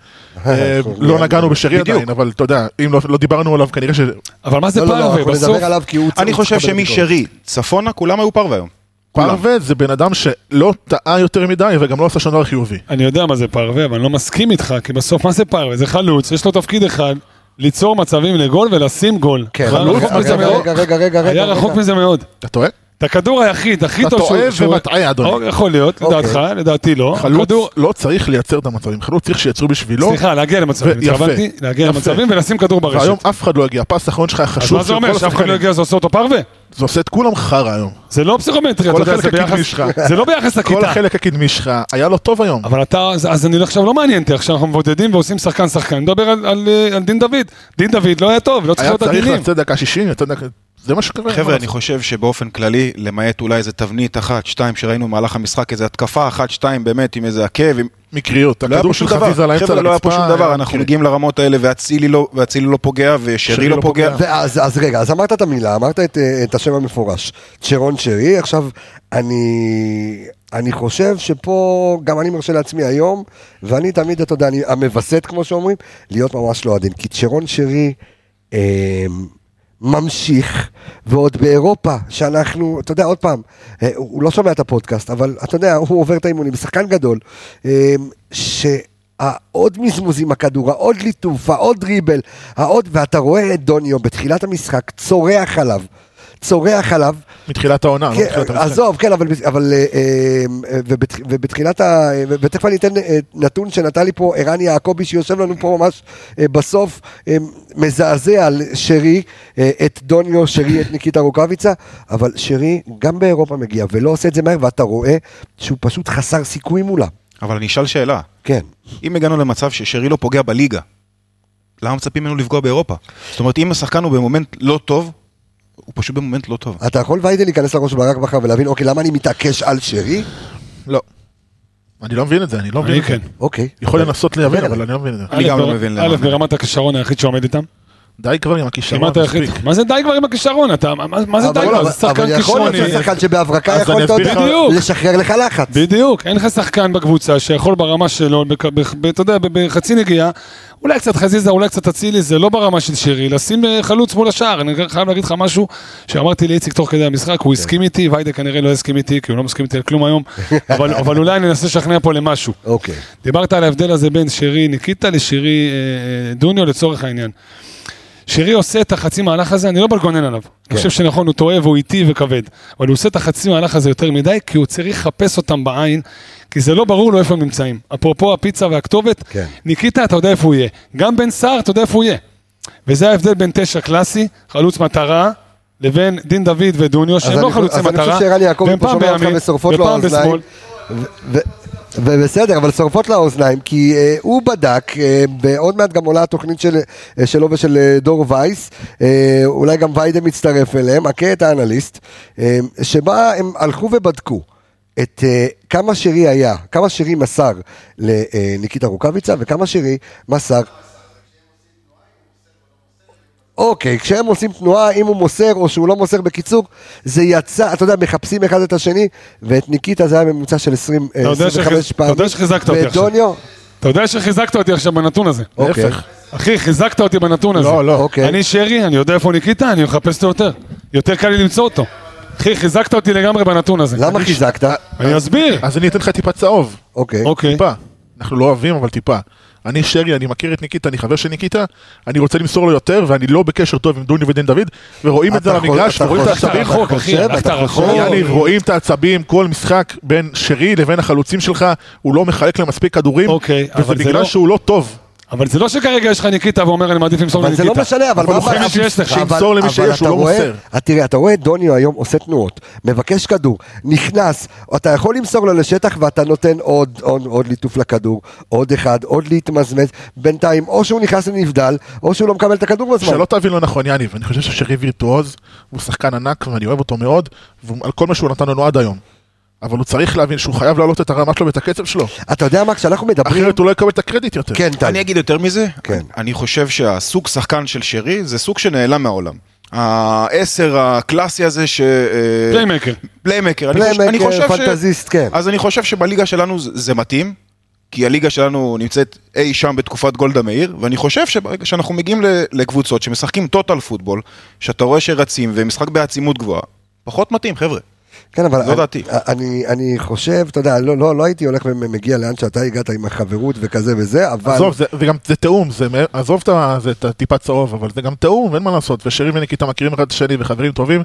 S3: אה, לא נגענו בשרי
S7: בדיוק.
S3: עדיין, אבל אתה יודע, אם לא- לא דיברנו עליו כנראה ש...
S5: אבל מה זה
S1: לא, לא, לא,
S5: פרווה?
S1: אנחנו
S5: בסוף,
S1: נדבר עליו כי הוא...
S7: אני
S1: הוא
S7: חושב
S1: צריך לקבל ביקורת.
S7: שמשרי, צפונה, כולם היו פרווה היום. כולם.
S3: פרווה זה בן אדם שלא טעה יותר מדי וגם לא עשה שום דבר חיובי.
S5: אני יודע מה זה פרווה, אבל אני לא מסכים איתך, כי בסוף מה זה פרווה? זה חלוץ, יש לו תפקיד אחד, ליצור מצבים לגול ולשים גול.
S1: כן,
S5: היה
S1: חלוץ,
S5: רחוק מזה
S1: רגע,
S5: מאוד.
S1: רגע, רגע, רגע, רגע.
S5: היה רחוק מזה מאוד.
S3: אתה טועה?
S5: את הכדור היחיד, הכי
S3: אתה
S5: טוב שהוא...
S3: טועה
S5: שהוא-
S3: ומטעה, אדוני.
S5: או, יכול להיות,
S1: אוקיי.
S5: לדעתך, לדעתי לא.
S3: חלוץ
S5: הכדור-
S3: לא צריך לייצר את המצבים, חלוץ צריך שייצרו בשבילו,
S5: סליחה, להגיע למצבים,
S3: ו- יפה.
S5: התכוונתי, להגיע
S3: יפה.
S5: למצבים ולשים כדור
S3: והיום
S5: ברשת.
S3: אף אחד לא הגיע, הפס האחרון שלך היה
S5: אז
S3: חשוב
S5: מה זה אומר, שאף אחד לא יגיע, זה עושה אותו פרווה?
S3: זה עושה את כולם חרא היום.
S5: זה לא פסיכומטרי, אתה
S3: כל
S5: יודע,
S3: החלק
S5: זה
S3: הקדמי
S5: ביחס...
S3: שלך.
S5: זה לא ביחס
S3: כל
S5: לכיתה.
S3: החלק הקדמי שלך היה לו טוב היום.
S5: אבל אתה, אז, אז אני עכשיו לא מעניין אותי, עכשיו אנחנו מבודדים ועושים שחקן שחקן, אני מדבר על, על, אה, על דין דוד, דין דוד לא היה טוב, לא צריך
S3: היה
S5: להיות
S3: צריך
S5: עדינים.
S3: לצאת דקה 60, לצאת דקה... זה מה שקורה.
S7: חבר'ה, אני חושב שבאופן כללי, למעט אולי איזה תבנית אחת, שתיים שראינו במהלך המשחק, איזה התקפה אחת, שתיים באמת, עם איזה עקב, עם...
S3: מקריות,
S7: לא היה פה
S3: הכדור
S7: שום
S3: של חזיזה
S7: דבר.
S3: לאמצע
S7: חבר'ה, לא היה פה
S3: לרצפה, אה, כן.
S7: שום דבר, אנחנו
S3: מקרי.
S7: מגיעים לרמות האלה, ואצילי לא- ואצילי לא פוגע, ושרי לא פוגע.
S1: ואז, אז רגע, אז אמרת את המילה, אמרת את, אה, את השם המפורש, צ'רון שרי, עכשיו, אני, אני חושב שפה, גם אני מרשה לעצמי היום, ואני תמיד, אתה יודע, אני המווסת, כמו שאומרים, להיות ממש לא עדין, כי צ'רון שרי אה, ממשיך, ועוד באירופה, שאנחנו, אתה יודע, עוד פעם, אה, הוא הוא לא שומע את הפודקאסט, אבל אתה יודע, הוא עובר את האימונים, שחקן גדול, אה, ש... העוד מזמוז עם הכדור, העוד ליטוף, העוד דריבל, העוד, ואתה רואה את דוניו בתחילת המשחק צורח עליו, צורח עליו,
S3: מתחילת העונה, לא
S1: כן,
S3: מתחילת המשחק.
S1: עזוב, כן, אבל, אבל אה, אה, ובתח- ובתחילת ה... ותכף אני אתן אה, נתון שנתן לי פה ערן יעקבי, שיושב לנו פה ממש אה, בסוף, אה, מזעזע על שרי, אה, את דוניו, שרי, את ניקיטה רוקאביצה, אבל שרי גם באירופה מגיע, ולא עושה את זה מהר, ואתה רואה שהוא פשוט חסר סיכוי מולם.
S7: אבל אני אשאל שאלה,
S1: כן.
S7: אם הגענו למצב ששרי לא פוגע בליגה, למה מצפים ממנו לפגוע באירופה? זאת אומרת, אם השחקן הוא במומנט לא טוב, הוא פשוט במומנט לא טוב.
S1: אתה יכול ויידל להיכנס לראש של ברק בכר ולהבין, אוקיי, למה אני מתעקש על שרי?
S3: לא. אני לא מבין את זה, אני לא מבין
S5: אני
S3: את זה.
S5: כן.
S1: אוקיי.
S3: יכול לנסות להבין,
S1: כן,
S3: אבל אני לא מבין את זה.
S7: אני גם לא
S5: א',
S7: מבין
S5: א',
S7: למה.
S5: ברמת הכישרון היחיד שעומד איתם,
S3: די כבר עם הכישרון.
S5: כמעט היחיד.
S3: מספיק.
S5: מה זה די כבר עם הכישרון? אתה, מה, מה זה
S1: אבל
S5: די
S1: לא,
S5: כבר?
S1: אבל-
S5: זה שחקן
S1: אבל יכול להיות
S5: כישרוני.
S1: שזה שחקן שבהברקה
S3: אז
S1: יכול,
S3: אני
S1: אתה
S3: אסביר
S1: יודע,
S5: לך- בדיוק.
S1: לשחרר לך לחץ.
S5: בדיוק, אין לך שחקן בקבוצה שיכול ברמה שלו, בק- בח- ב- אתה יודע, ב- בחצי נגיעה, אולי קצת חזיזה, אולי קצת אצילי, זה לא ברמה של שירי, לשים אה, חלוץ מול השער. אני חייב להגיד לך משהו שאמרתי לאיציק תוך כדי המשחק, הוא הסכים איתי, ויידה כנראה לא יסכים איתי, כי הוא לא מסכים איתי על כלום היום, אבל אבל אולי אני אנסה לשכנע פה למשהו.
S1: אוקיי.
S5: דיברת על ההבדל הזה בין שירי ניקיטה לשירי אה, דוניו לצורך העניין. שירי עושה את החצי מהלך הזה, אני לא מגונן עליו.
S1: כן.
S5: אני חושב שנכון, הוא טועה והוא איטי וכבד. אבל הוא עושה את החצי מהלך הזה יותר מדי, כי הוא צריך לחפש אותם בעין, כי זה לא ברור לו איפה הם נמצאים. אפרופו הפיצה והכתובת,
S1: כן.
S5: ניקיטה, אתה יודע איפה הוא יהיה. גם בן סער, אתה יודע איפה הוא יהיה. וזה ההבדל בין תשע קלאסי, חלוץ מטרה, לבין דין דוד ודוניו, שהם
S1: אז
S5: לא
S1: אני-
S5: חלוצי
S1: אז אני חושב
S5: מטרה,
S1: שערן יעקב
S5: והם
S1: פה
S5: פעם
S1: שומע אותך
S5: בימין,
S1: ושורפות לו
S5: ופעם
S1: האוזניים.
S5: בשמאל.
S1: ו- ובסדר, אבל שורפות לאוזניים, כי אה, הוא בדק, אה, ועוד מעט גם עולה התוכנית של, אה, שלו ושל אה, דור וייס, אה, אולי גם ויידה מצטרף אליהם, הכה את האנליסט, אה, שבה הם הלכו ובדקו את אה, כמה שירי היה, כמה שירי מסר לניקיטה רוקאביצה, וכמה שירי מסר אוקיי, כשהם עושים תנועה, אם הוא מוסר או שהוא לא מוסר, בקיצור, זה יצא, אתה יודע, מחפשים אחד את השני, ואת ניקיטה זה היה ממוצע של 20, אה,
S5: אתה יודע
S1: 25
S5: שחיז-
S1: פעמים.
S5: אתה יודע שחיזקת אותי
S1: ואת
S5: עכשיו.
S1: דוניו,
S5: אתה יודע שחיזקת אותי עכשיו בנתון הזה.
S1: אוקיי.
S3: להפך.
S5: אחי, חיזקת אותי בנתון הזה.
S3: לא, לא.
S1: אוקיי.
S5: אני שרי, אני יודע איפה ניקיטה, אני מחפש אותו יותר. יותר קל לי למצוא אותו. אחי, חיזקת אותי לגמרי בנתון הזה.
S1: למה
S5: אני- אה,
S1: חיזקת?
S5: אני אסביר.
S3: אז אני אתן לך טיפה צהוב.
S1: אוקיי.
S5: אוקיי.
S3: טיפה. אנחנו לא אוהבים, אבל טיפה. אני שרי, אני מכיר את ניקיטה, אני חבר של ניקיטה, אני רוצה למסור לו יותר, ואני לא בקשר טוב עם דוני ודין דוד, ורואים את זה על
S1: אתה חול-
S3: המגרש,
S1: אתה
S3: ורואים את
S1: חושב,
S5: הלכת
S3: העצבים,
S1: אתה
S5: רחוק, אחי,
S1: חושב,
S5: הלכת
S1: אתה
S5: רחוק.
S1: חושב.
S3: יניב, רואים את העצבים כל משחק בין שרי לבין החלוצים שלך, הוא לא מחלק להם מספיק כדורים,
S5: אוקיי, אבל
S3: וזה
S5: זה לא-
S3: בגלל שהוא לא טוב.
S5: אבל זה לא שכרגע יש לך ניקיטה ואומר, אני מעדיף למסור
S1: אבל זה לא
S5: לניקיטה.
S1: משנה, אבל
S5: אבל
S1: מה
S5: הוא חייב
S1: הבעיה?
S5: שיש לך.
S1: אבל-
S3: שימסור למי
S1: אבל
S3: שיש,
S1: אתה
S3: הוא לא
S1: רואה-
S3: מוסר.
S1: אה, תראה, אתה רואה את דוניו היום עושה תנועות, מבקש כדור, נכנס, אתה יכול למסור לו לשטח ואתה נותן עוד, עוד, עוד ליטוף לכדור, עוד אחד, עוד להתמזמז, בינתיים או שהוא נכנס לנבדל, או שהוא לא מקבל את הכדור בזמן.
S3: שלא תבין לא נכון, יניב, אני חושב ששרי וירטואוז, הוא שחקן ענק ואני אוהב אותו מאוד, ועל כל מה שהוא נתן לנו עד היום. אבל הוא צריך להבין שהוא חייב להעלות את הרמה שלו ואת הקצב שלו,
S1: אתה יודע מה, כשאנחנו מדברים...
S3: אחרת הוא לא יקבל את הקרדיט יותר.
S1: כן, טל.
S7: אני אגיד יותר מזה,
S1: כן.
S7: אני- אני חושב שהסוג שחקן של שרי זה סוג שנעלם מהעולם. העשר הקלאסי הזה ש... אה,
S5: פליימקר.
S7: פליימקר. אני חושב-
S1: פליימקר,
S7: אני חושב ש-
S1: פנטזיסט, כן.
S7: אז אני חושב שבליגה שלנו זה- זה מתאים, כי הליגה שלנו נמצאת אי שם בתקופת גולדה מאיר, ואני חושב שברגע שאנחנו מגיעים ל- לקבוצות שמשחקים טוטל פוטבול, שאתה רואה שרצים ומשחק בעצימות גבוהה, פחות מתאים, חבר'ה.
S1: כן,
S3: לא
S1: אבל...
S7: זו דעתי.
S1: אני, אני חושב, אתה יודע, לא, לא, לא הייתי הולך ומגיע לאן שאתה הגעת עם החברות וכזה וזה, אבל...
S3: עזוב, זה, זה גם, זה תיאום, זה, מ- עזוב את ה- זה- את הטיפה צהוב, אבל זה גם תיאום, אין מה לעשות, ושרי וניקיטה מכירים אחד את השני וחברים טובים,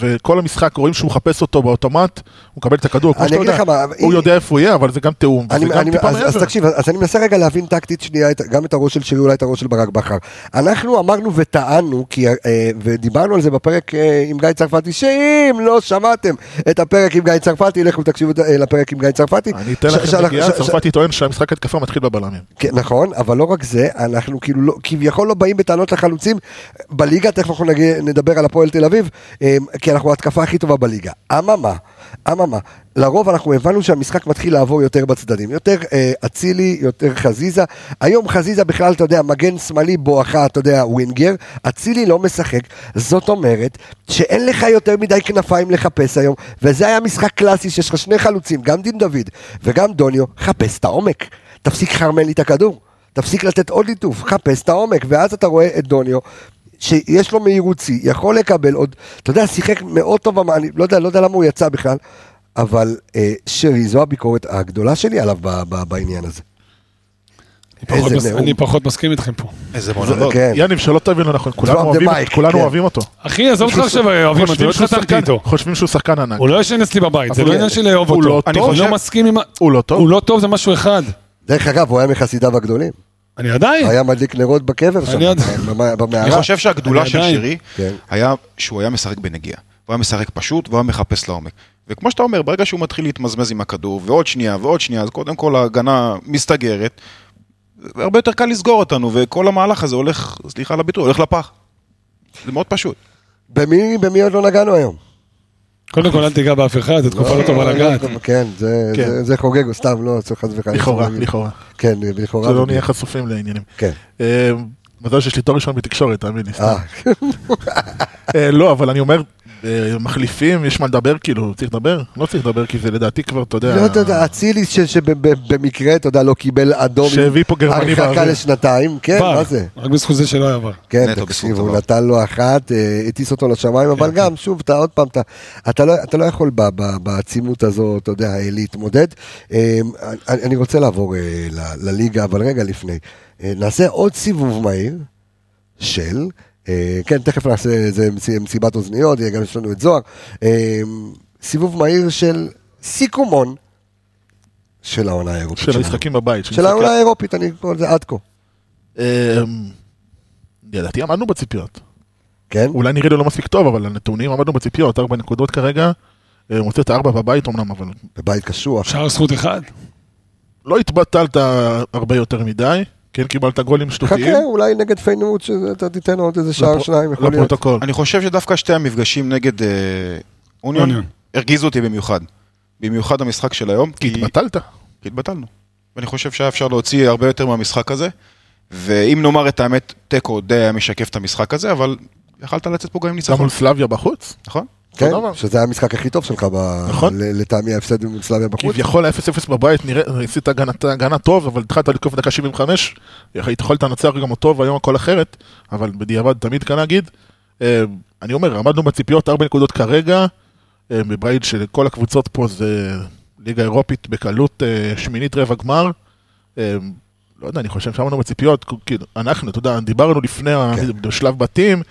S3: וכל המשחק רואים שהוא מחפש אותו באוטומט, הוא מקבל את הכדור, כמו
S1: אני
S3: שאתה
S1: אגיד
S3: יודע,
S1: לך מה,
S3: הוא
S1: אם-
S3: יודע איפה הוא יהיה, אבל זה גם תיאום, זה
S1: אני,
S3: גם
S1: אני,
S3: טיפה
S1: אז,
S3: מעבר.
S1: אז תקשיב, אז אני מנסה רגע להבין טקטית שנייה, את- גם את הראש של שרי, אולי את הראש של ברק בכר. אנחנו אמרנו וטענו, כי, אה, ודיברנו על זה בפרק אה, עם גיא צרפתי, שאם לא שמעתם את הפרק עם גיא צרפתי, לכו תקשיבו אה, לפרק עם גיא צרפתי.
S3: אני אתן
S1: ש-
S3: לכם
S1: שאנחנו-
S3: נגיעה,
S1: ש- ש-
S3: צרפתי טוען שהמשחק התקפה מתחיל בבלמים.
S1: כן, נכון, אבל לא רק זה, אנחנו כאילו לא, כביכול לא באים בטענות לחלוצים בליגה, תכף אנחנו נגיע, נדבר על הפועל תל אביב, אה, כי אנחנו ההתקפה הכי טובה בליגה. אממה, אממה, לרוב אנחנו הבנו שהמשחק מתחיל לעבור יותר בצדדים, יותר אה, אצילי, יותר חזיזה. היום חזיזה בכלל, אתה יודע, מגן שמאלי בואכה, אתה יודע, ווינגר, אצילי לא משחק, זאת אומרת שאין לך יותר מדי כנפיים לחפש היום, וזה היה משחק קלאסי שיש לך שני חלוצים, גם דין דוד וגם דוניו, חפש את העומק. תפסיק לחרמן לי את הכדור, תפסיק לתת עוד ליטוף, חפש את העומק, ואז אתה רואה את דוניו, שיש לו מהירות שיא, יכול לקבל עוד, אתה יודע, שיחק מאוד טוב, במ- אני לא יודע, לא יודע למה הוא יצא בכלל, אבל אה, שרי, זו הביקורת הגדולה שלי עליו ב- ב- בעניין הזה.
S5: אני פחות
S1: איזה
S5: מס-
S1: נאום.
S5: אני פחות מסכים איתכם פה.
S7: איזה
S1: זה-
S7: מונולוג.
S1: כן.
S3: יניב, שלא תבין לא נכון, כולנו
S1: the
S3: אוהבים-
S1: mic,
S3: כולנו
S1: כן.
S3: אוהבים אותו.
S5: אחי, עזוב אותך עכשיו, אוהבים אותי,
S3: חושבים
S5: לא
S3: שהוא
S5: התחתנתי
S3: שחקן-
S5: איתו.
S3: חושבים שהוא שחקן ענק.
S5: הוא לא ישן אצלי
S1: אה,
S5: בבית, זה
S3: אבל
S5: לא
S1: אוקיי.
S3: הוא-
S5: עניין של לאהוב
S3: הוא לא
S5: אותו.
S3: טוב.
S5: אני
S3: הוא
S5: לא
S3: לא-
S5: מסכים עם... ה-
S3: הוא לא טוב.
S5: הוא לא טוב זה משהו אחד.
S1: דרך אגב, הוא היה מחסידיו הגדולים,
S5: אני עדיין.
S1: היה מדליק נרות בקבר שם,
S5: אני יודע.
S1: במ- במערה.
S7: אני חושב שהגדולה
S5: אני
S7: של
S5: עדיין.
S7: שירי
S1: כן.
S7: היה שהוא היה משחק בנגיעה. הוא היה משחק פשוט והוא היה מחפש לעומק. וכמו שאתה אומר, ברגע שהוא מתחיל להתמזמז עם הכדור, ועוד שנייה ועוד שנייה, אז קודם כל ההגנה מסתגרת, והרבה יותר קל לסגור אותנו, וכל המהלך הזה הולך, סליחה על הביטוי, הולך לפח. זה מאוד פשוט.
S1: במי במי עוד לא נגענו היום?
S5: קודם כל, אל תיגע באף אחד, זו תקופה
S1: אה,
S5: לא טובה לגעת.
S1: כן, זה-
S3: כן.
S1: זה- זה חוגג, הוא סתם, לא, צריך חס וחלילה.
S3: לכאורה, לא לכאורה.
S1: כן, לכאורה.
S3: שלא נהיה חשופים לעניינים.
S1: כן.
S3: אה, מזל שיש לי תואר ראשון בתקשורת, תאמין לי. סתם.
S1: אה,
S3: אה, לא, אבל אני אומר, אה, מחליפים, יש מה לדבר, כאילו, צריך לדבר? לא צריך לדבר, כי זה לדעתי כבר, אתה יודע...
S1: לא, אתה יודע, אצילי ש- שבמקרה, אתה יודע, לא קיבל אדום. עם
S3: שהביא פה גרמני
S1: הרחקה
S3: באוויר.
S1: לשנתיים, כן,
S5: בר,
S1: מה זה?
S5: רק בזכות זה שלא היה בר.
S1: כן,
S7: נטו
S1: תקשיב,
S7: בזכות
S1: הוא
S7: דבר.
S1: נתן לו אחת, אה, הטיס אותו לשמיים, אבל גם, שוב, אתה עוד פעם, אתה- אתה לא- אתה לא יכול ב- ב- בעצימות הזו, אתה יודע, אה, להתמודד. אה, אני אני רוצה לעבור אה, ל- לליגה, אבל רגע לפני. אה, נעשה עוד סיבוב מהיר של, אה, כן, תכף נעשה איזה מצ- מסיבת אוזניות, אה, גם יש לנו את זוהר. אה, סיבוב מהיר של סיכומון של העונה האירופית.
S3: של
S1: שלנו.
S3: המשחקים בבית.
S1: של העונה האירופית, אני קורא לזה עד כה.
S3: אה, לדעתי עמדנו בציפיות.
S1: כן?
S3: אולי נראה לי לא מספיק טוב, אבל הנתונים עמדנו בציפיות, ארבע נקודות כרגע. אה, מוצא את הארבע בבית אמנם, אבל
S1: בבית קשוח.
S5: שער זכות אחד.
S3: לא התבטלת הרבה יותר מדי. כן קיבלת גולים שטותיים.
S1: חכה, אולי נגד פיינורד שאתה תיתן עוד איזה שער
S3: לפ-
S1: שניים, יכול להיות.
S3: לפרוטוקול.
S7: אני חושב שדווקא שתי המפגשים נגד אה,
S5: אוניון.
S7: אוניון הרגיזו אותי במיוחד. במיוחד המשחק של היום, כי
S3: התבטלת.
S7: כי התבטלנו. ואני חושב שהיה אפשר להוציא הרבה יותר מהמשחק הזה, ואם נאמר את האמת, תיקו די היה משקף את המשחק הזה, אבל יכלת לצאת פה גם עם
S3: גם
S7: ניצחון,
S3: מול סלביה בחוץ.
S7: נכון?
S1: כן,
S3: אותו דבר.
S1: שזה היה המשחק הכי טוב שלך, ב-
S3: נכון.
S1: ל- לטעמי ההפסד מול סלאביה בחוץ.
S3: כביכול ה-0-0 בבית, נראה- עשית הגנת- הגנה טוב, אבל התחלת לתקוף דקה 75, יכולת לנצח גם אותו והיום הכל אחרת, אבל בדיעבד תמיד כאן להגיד, אה, אני אומר, עמדנו בציפיות 4 נקודות כרגע, אה, בבית של כל הקבוצות פה זה ליגה אירופית בקלות אה, שמינית רבע גמר, אה, לא יודע, אני חושב שעמדנו בציפיות, כאילו, אנחנו, אתה יודע, דיברנו לפני ה- בשלב בתים,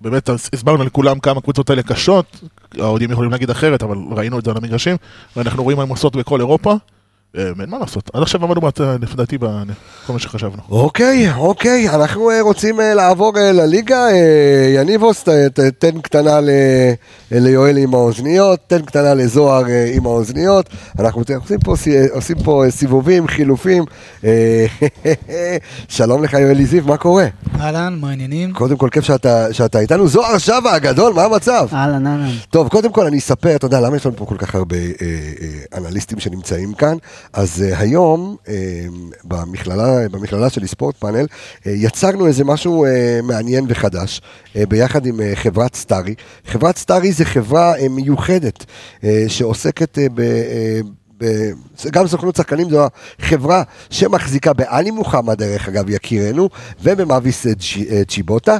S3: באמת אז הסברנו לכולם כמה הקבוצות האלה קשות, האוהדים יכולים להגיד אחרת, אבל ראינו את זה על המגרשים, ואנחנו רואים מה הם עושות בכל אירופה. אה, אין מה לעשות, עד עכשיו עמדנו בת- לפי דעתי בכל מה שחשבנו.
S1: אוקיי, אוקיי, אנחנו אה, רוצים אה, לעבור אה, לליגה. אה, יניבוס, ת- ת- תן קטנה ל- ליואל עם האוזניות, תן קטנה לזוהר אה, עם האוזניות. אנחנו ת- עושים פה סי- עושים פה אה, סיבובים, חילופים. אה, שלום לך, יואלי זיו, מה קורה?
S8: אהלן, מה העניינים?
S1: קודם כל, כיף שאתה שאתה איתנו. זוהר שבה הגדול, מה המצב?
S8: אהלן, אהלן.
S1: טוב, קודם כל אני אספר, אתה יודע, למה יש לנו פה כל כך הרבה אה, אה, אנליסטים שנמצאים כאן? אז אה, היום, אה, במכללה, במכללה שלי, ספורט פאנל, אה, יצרנו איזה משהו אה, מעניין וחדש, אה, ביחד עם אה, חברת סטארי. חברת סטארי זה חברה אה, מיוחדת, אה, שעוסקת אה, ב... אה, ב- גם סוכנות שחקנים זו החברה שמחזיקה בעלי מוחמד, דרך אגב, יקירנו, ובמאביס אה, צ'י- אה, צ'יבוטה.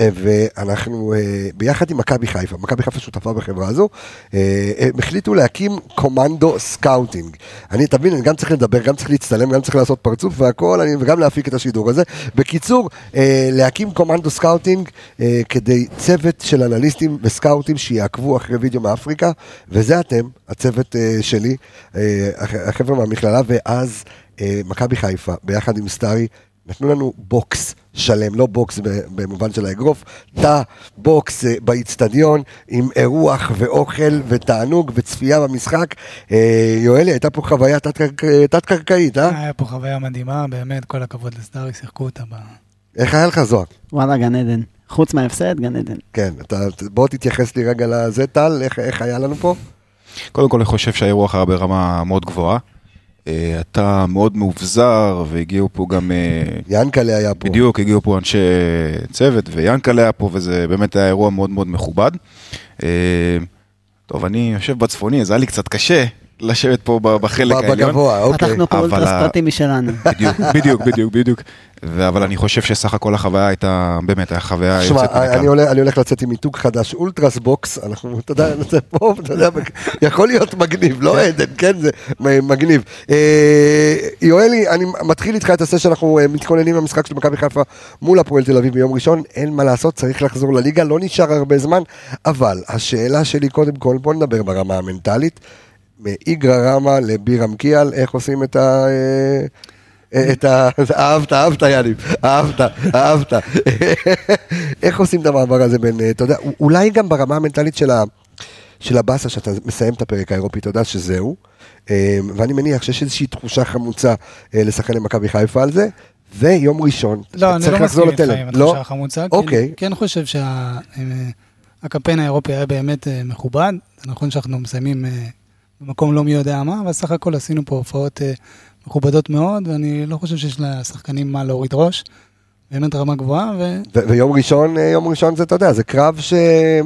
S1: אה, ואנחנו אה, ביחד עם מכבי חיפה, מכבי חיפה שותפה בחברה הזו, אה, הם החליטו להקים קומנדו סקאוטינג. אני, אתה מבין, אני גם צריך לדבר, גם צריך להצטלם, גם צריך לעשות פרצוף והכל, אני, וגם להפיק את השידור הזה. בקיצור, אה, להקים קומנדו סקאוטינג אה, כדי צוות של אנליסטים וסקאוטים שיעקבו אחרי וידאו מאפריקה, וזה אתם, הצוות אה, שלי, אה, הח- החבר'ה מהמכללה, ואז אה, מכבי חיפה, ביחד עם סטארי, נתנו לנו בוקס שלם, לא בוקס ב- במובן של האגרוף, תא בוקס אה, באיצטדיון עם אירוח ואוכל ותענוג וצפייה במשחק. אה, יואלי, הייתה פה חוויה תת-קרק- תת-קרקעית, אה?
S9: היה פה חוויה מדהימה, באמת, כל הכבוד לסטארי, שיחקו אותה ב...
S1: איך היה לך זוהר?
S10: וואלה, גן עדן.
S8: כן.
S10: חוץ מההפסד, גן עדן.
S1: כן, אתה, בוא תתייחס לי רגע לזה, טל, איך, איך היה לנו פה?
S7: קודם כל, אני חושב שהאירוח היה ברמה מאוד גבוהה. אה, אתה מאוד מאובזר, והגיעו פה גם... אה,
S1: ינקלה היה פה.
S7: בדיוק, הגיעו פה אנשי צוות, ויאנקלה היה פה, וזה באמת היה אירוע מאוד מאוד מכובד. אה, טוב, אני יושב בצפוני, אז היה לי קצת קשה לשבת פה ב- בחלק
S1: ב-
S7: העליון.
S1: בגבוה, אוקיי.
S10: פתחנו פה
S7: אבל
S10: אולטרס
S7: ה-
S10: פרטי משלנו.
S7: בדיוק, בדיוק, בדיוק, בדיוק. ו- אבל אני חושב שסך הכל החוויה הייתה, באמת, הייתה חוויה
S1: תשמע,
S7: יוצאת מן
S1: אני,
S7: הכלל.
S1: הולך- אני הולך לצאת עם מיתוג חדש, אולטרס בוקס, אנחנו, אתה יודע, נצא פה, אתה יודע, יכול להיות מגניב, לא עדן, כן, זה מ- מגניב. אה, יואלי, אני מתחיל איתך את הסשן שאנחנו אה, מתכוננים למשחק של מכבי חיפה מול הפועל תל אביב ביום ראשון, אין מה לעשות, צריך לחזור לליגה, לא נשאר הרבה זמן, אבל השאלה שלי קודם כל, בוא נדבר ברמה המנטלית, מאיגרא רמא לבירם קיאל, איך עושים את ה... אה, את ה... אהבת, אהבת, יאניב, אהבת, אהבת. איך עושים את המעבר הזה בין, אה, אתה יודע, א- אולי גם ברמה המנטלית של ה... של הבאסה שאתה מסיים את הפרק האירופי, אתה יודע שזהו. אה, ואני מניח שיש איזושהי תחושה חמוצה אה, לשחקן למכבי חיפה על זה. ויום ראשון,
S9: לא, אני לא
S1: צריך לחזור
S9: מסכים איתך
S1: לתלם.
S9: עם
S1: לא?
S9: התחושה החמוצה. כי
S1: אוקיי.
S9: אני כן חושב שהקמפיין האירופי היה באמת אה, מכובד. זה נכון שאנחנו מסיימים אה, במקום לא מי יודע מה, אבל סך הכל עשינו פה הופעות אה, מכובדות מאוד, ואני לא חושב שיש לשחקנים מה להוריד ראש. באמת רמה גבוהה,
S1: ו- ויום ראשון, אה, יום ראשון זה, אתה יודע, זה קרב ש...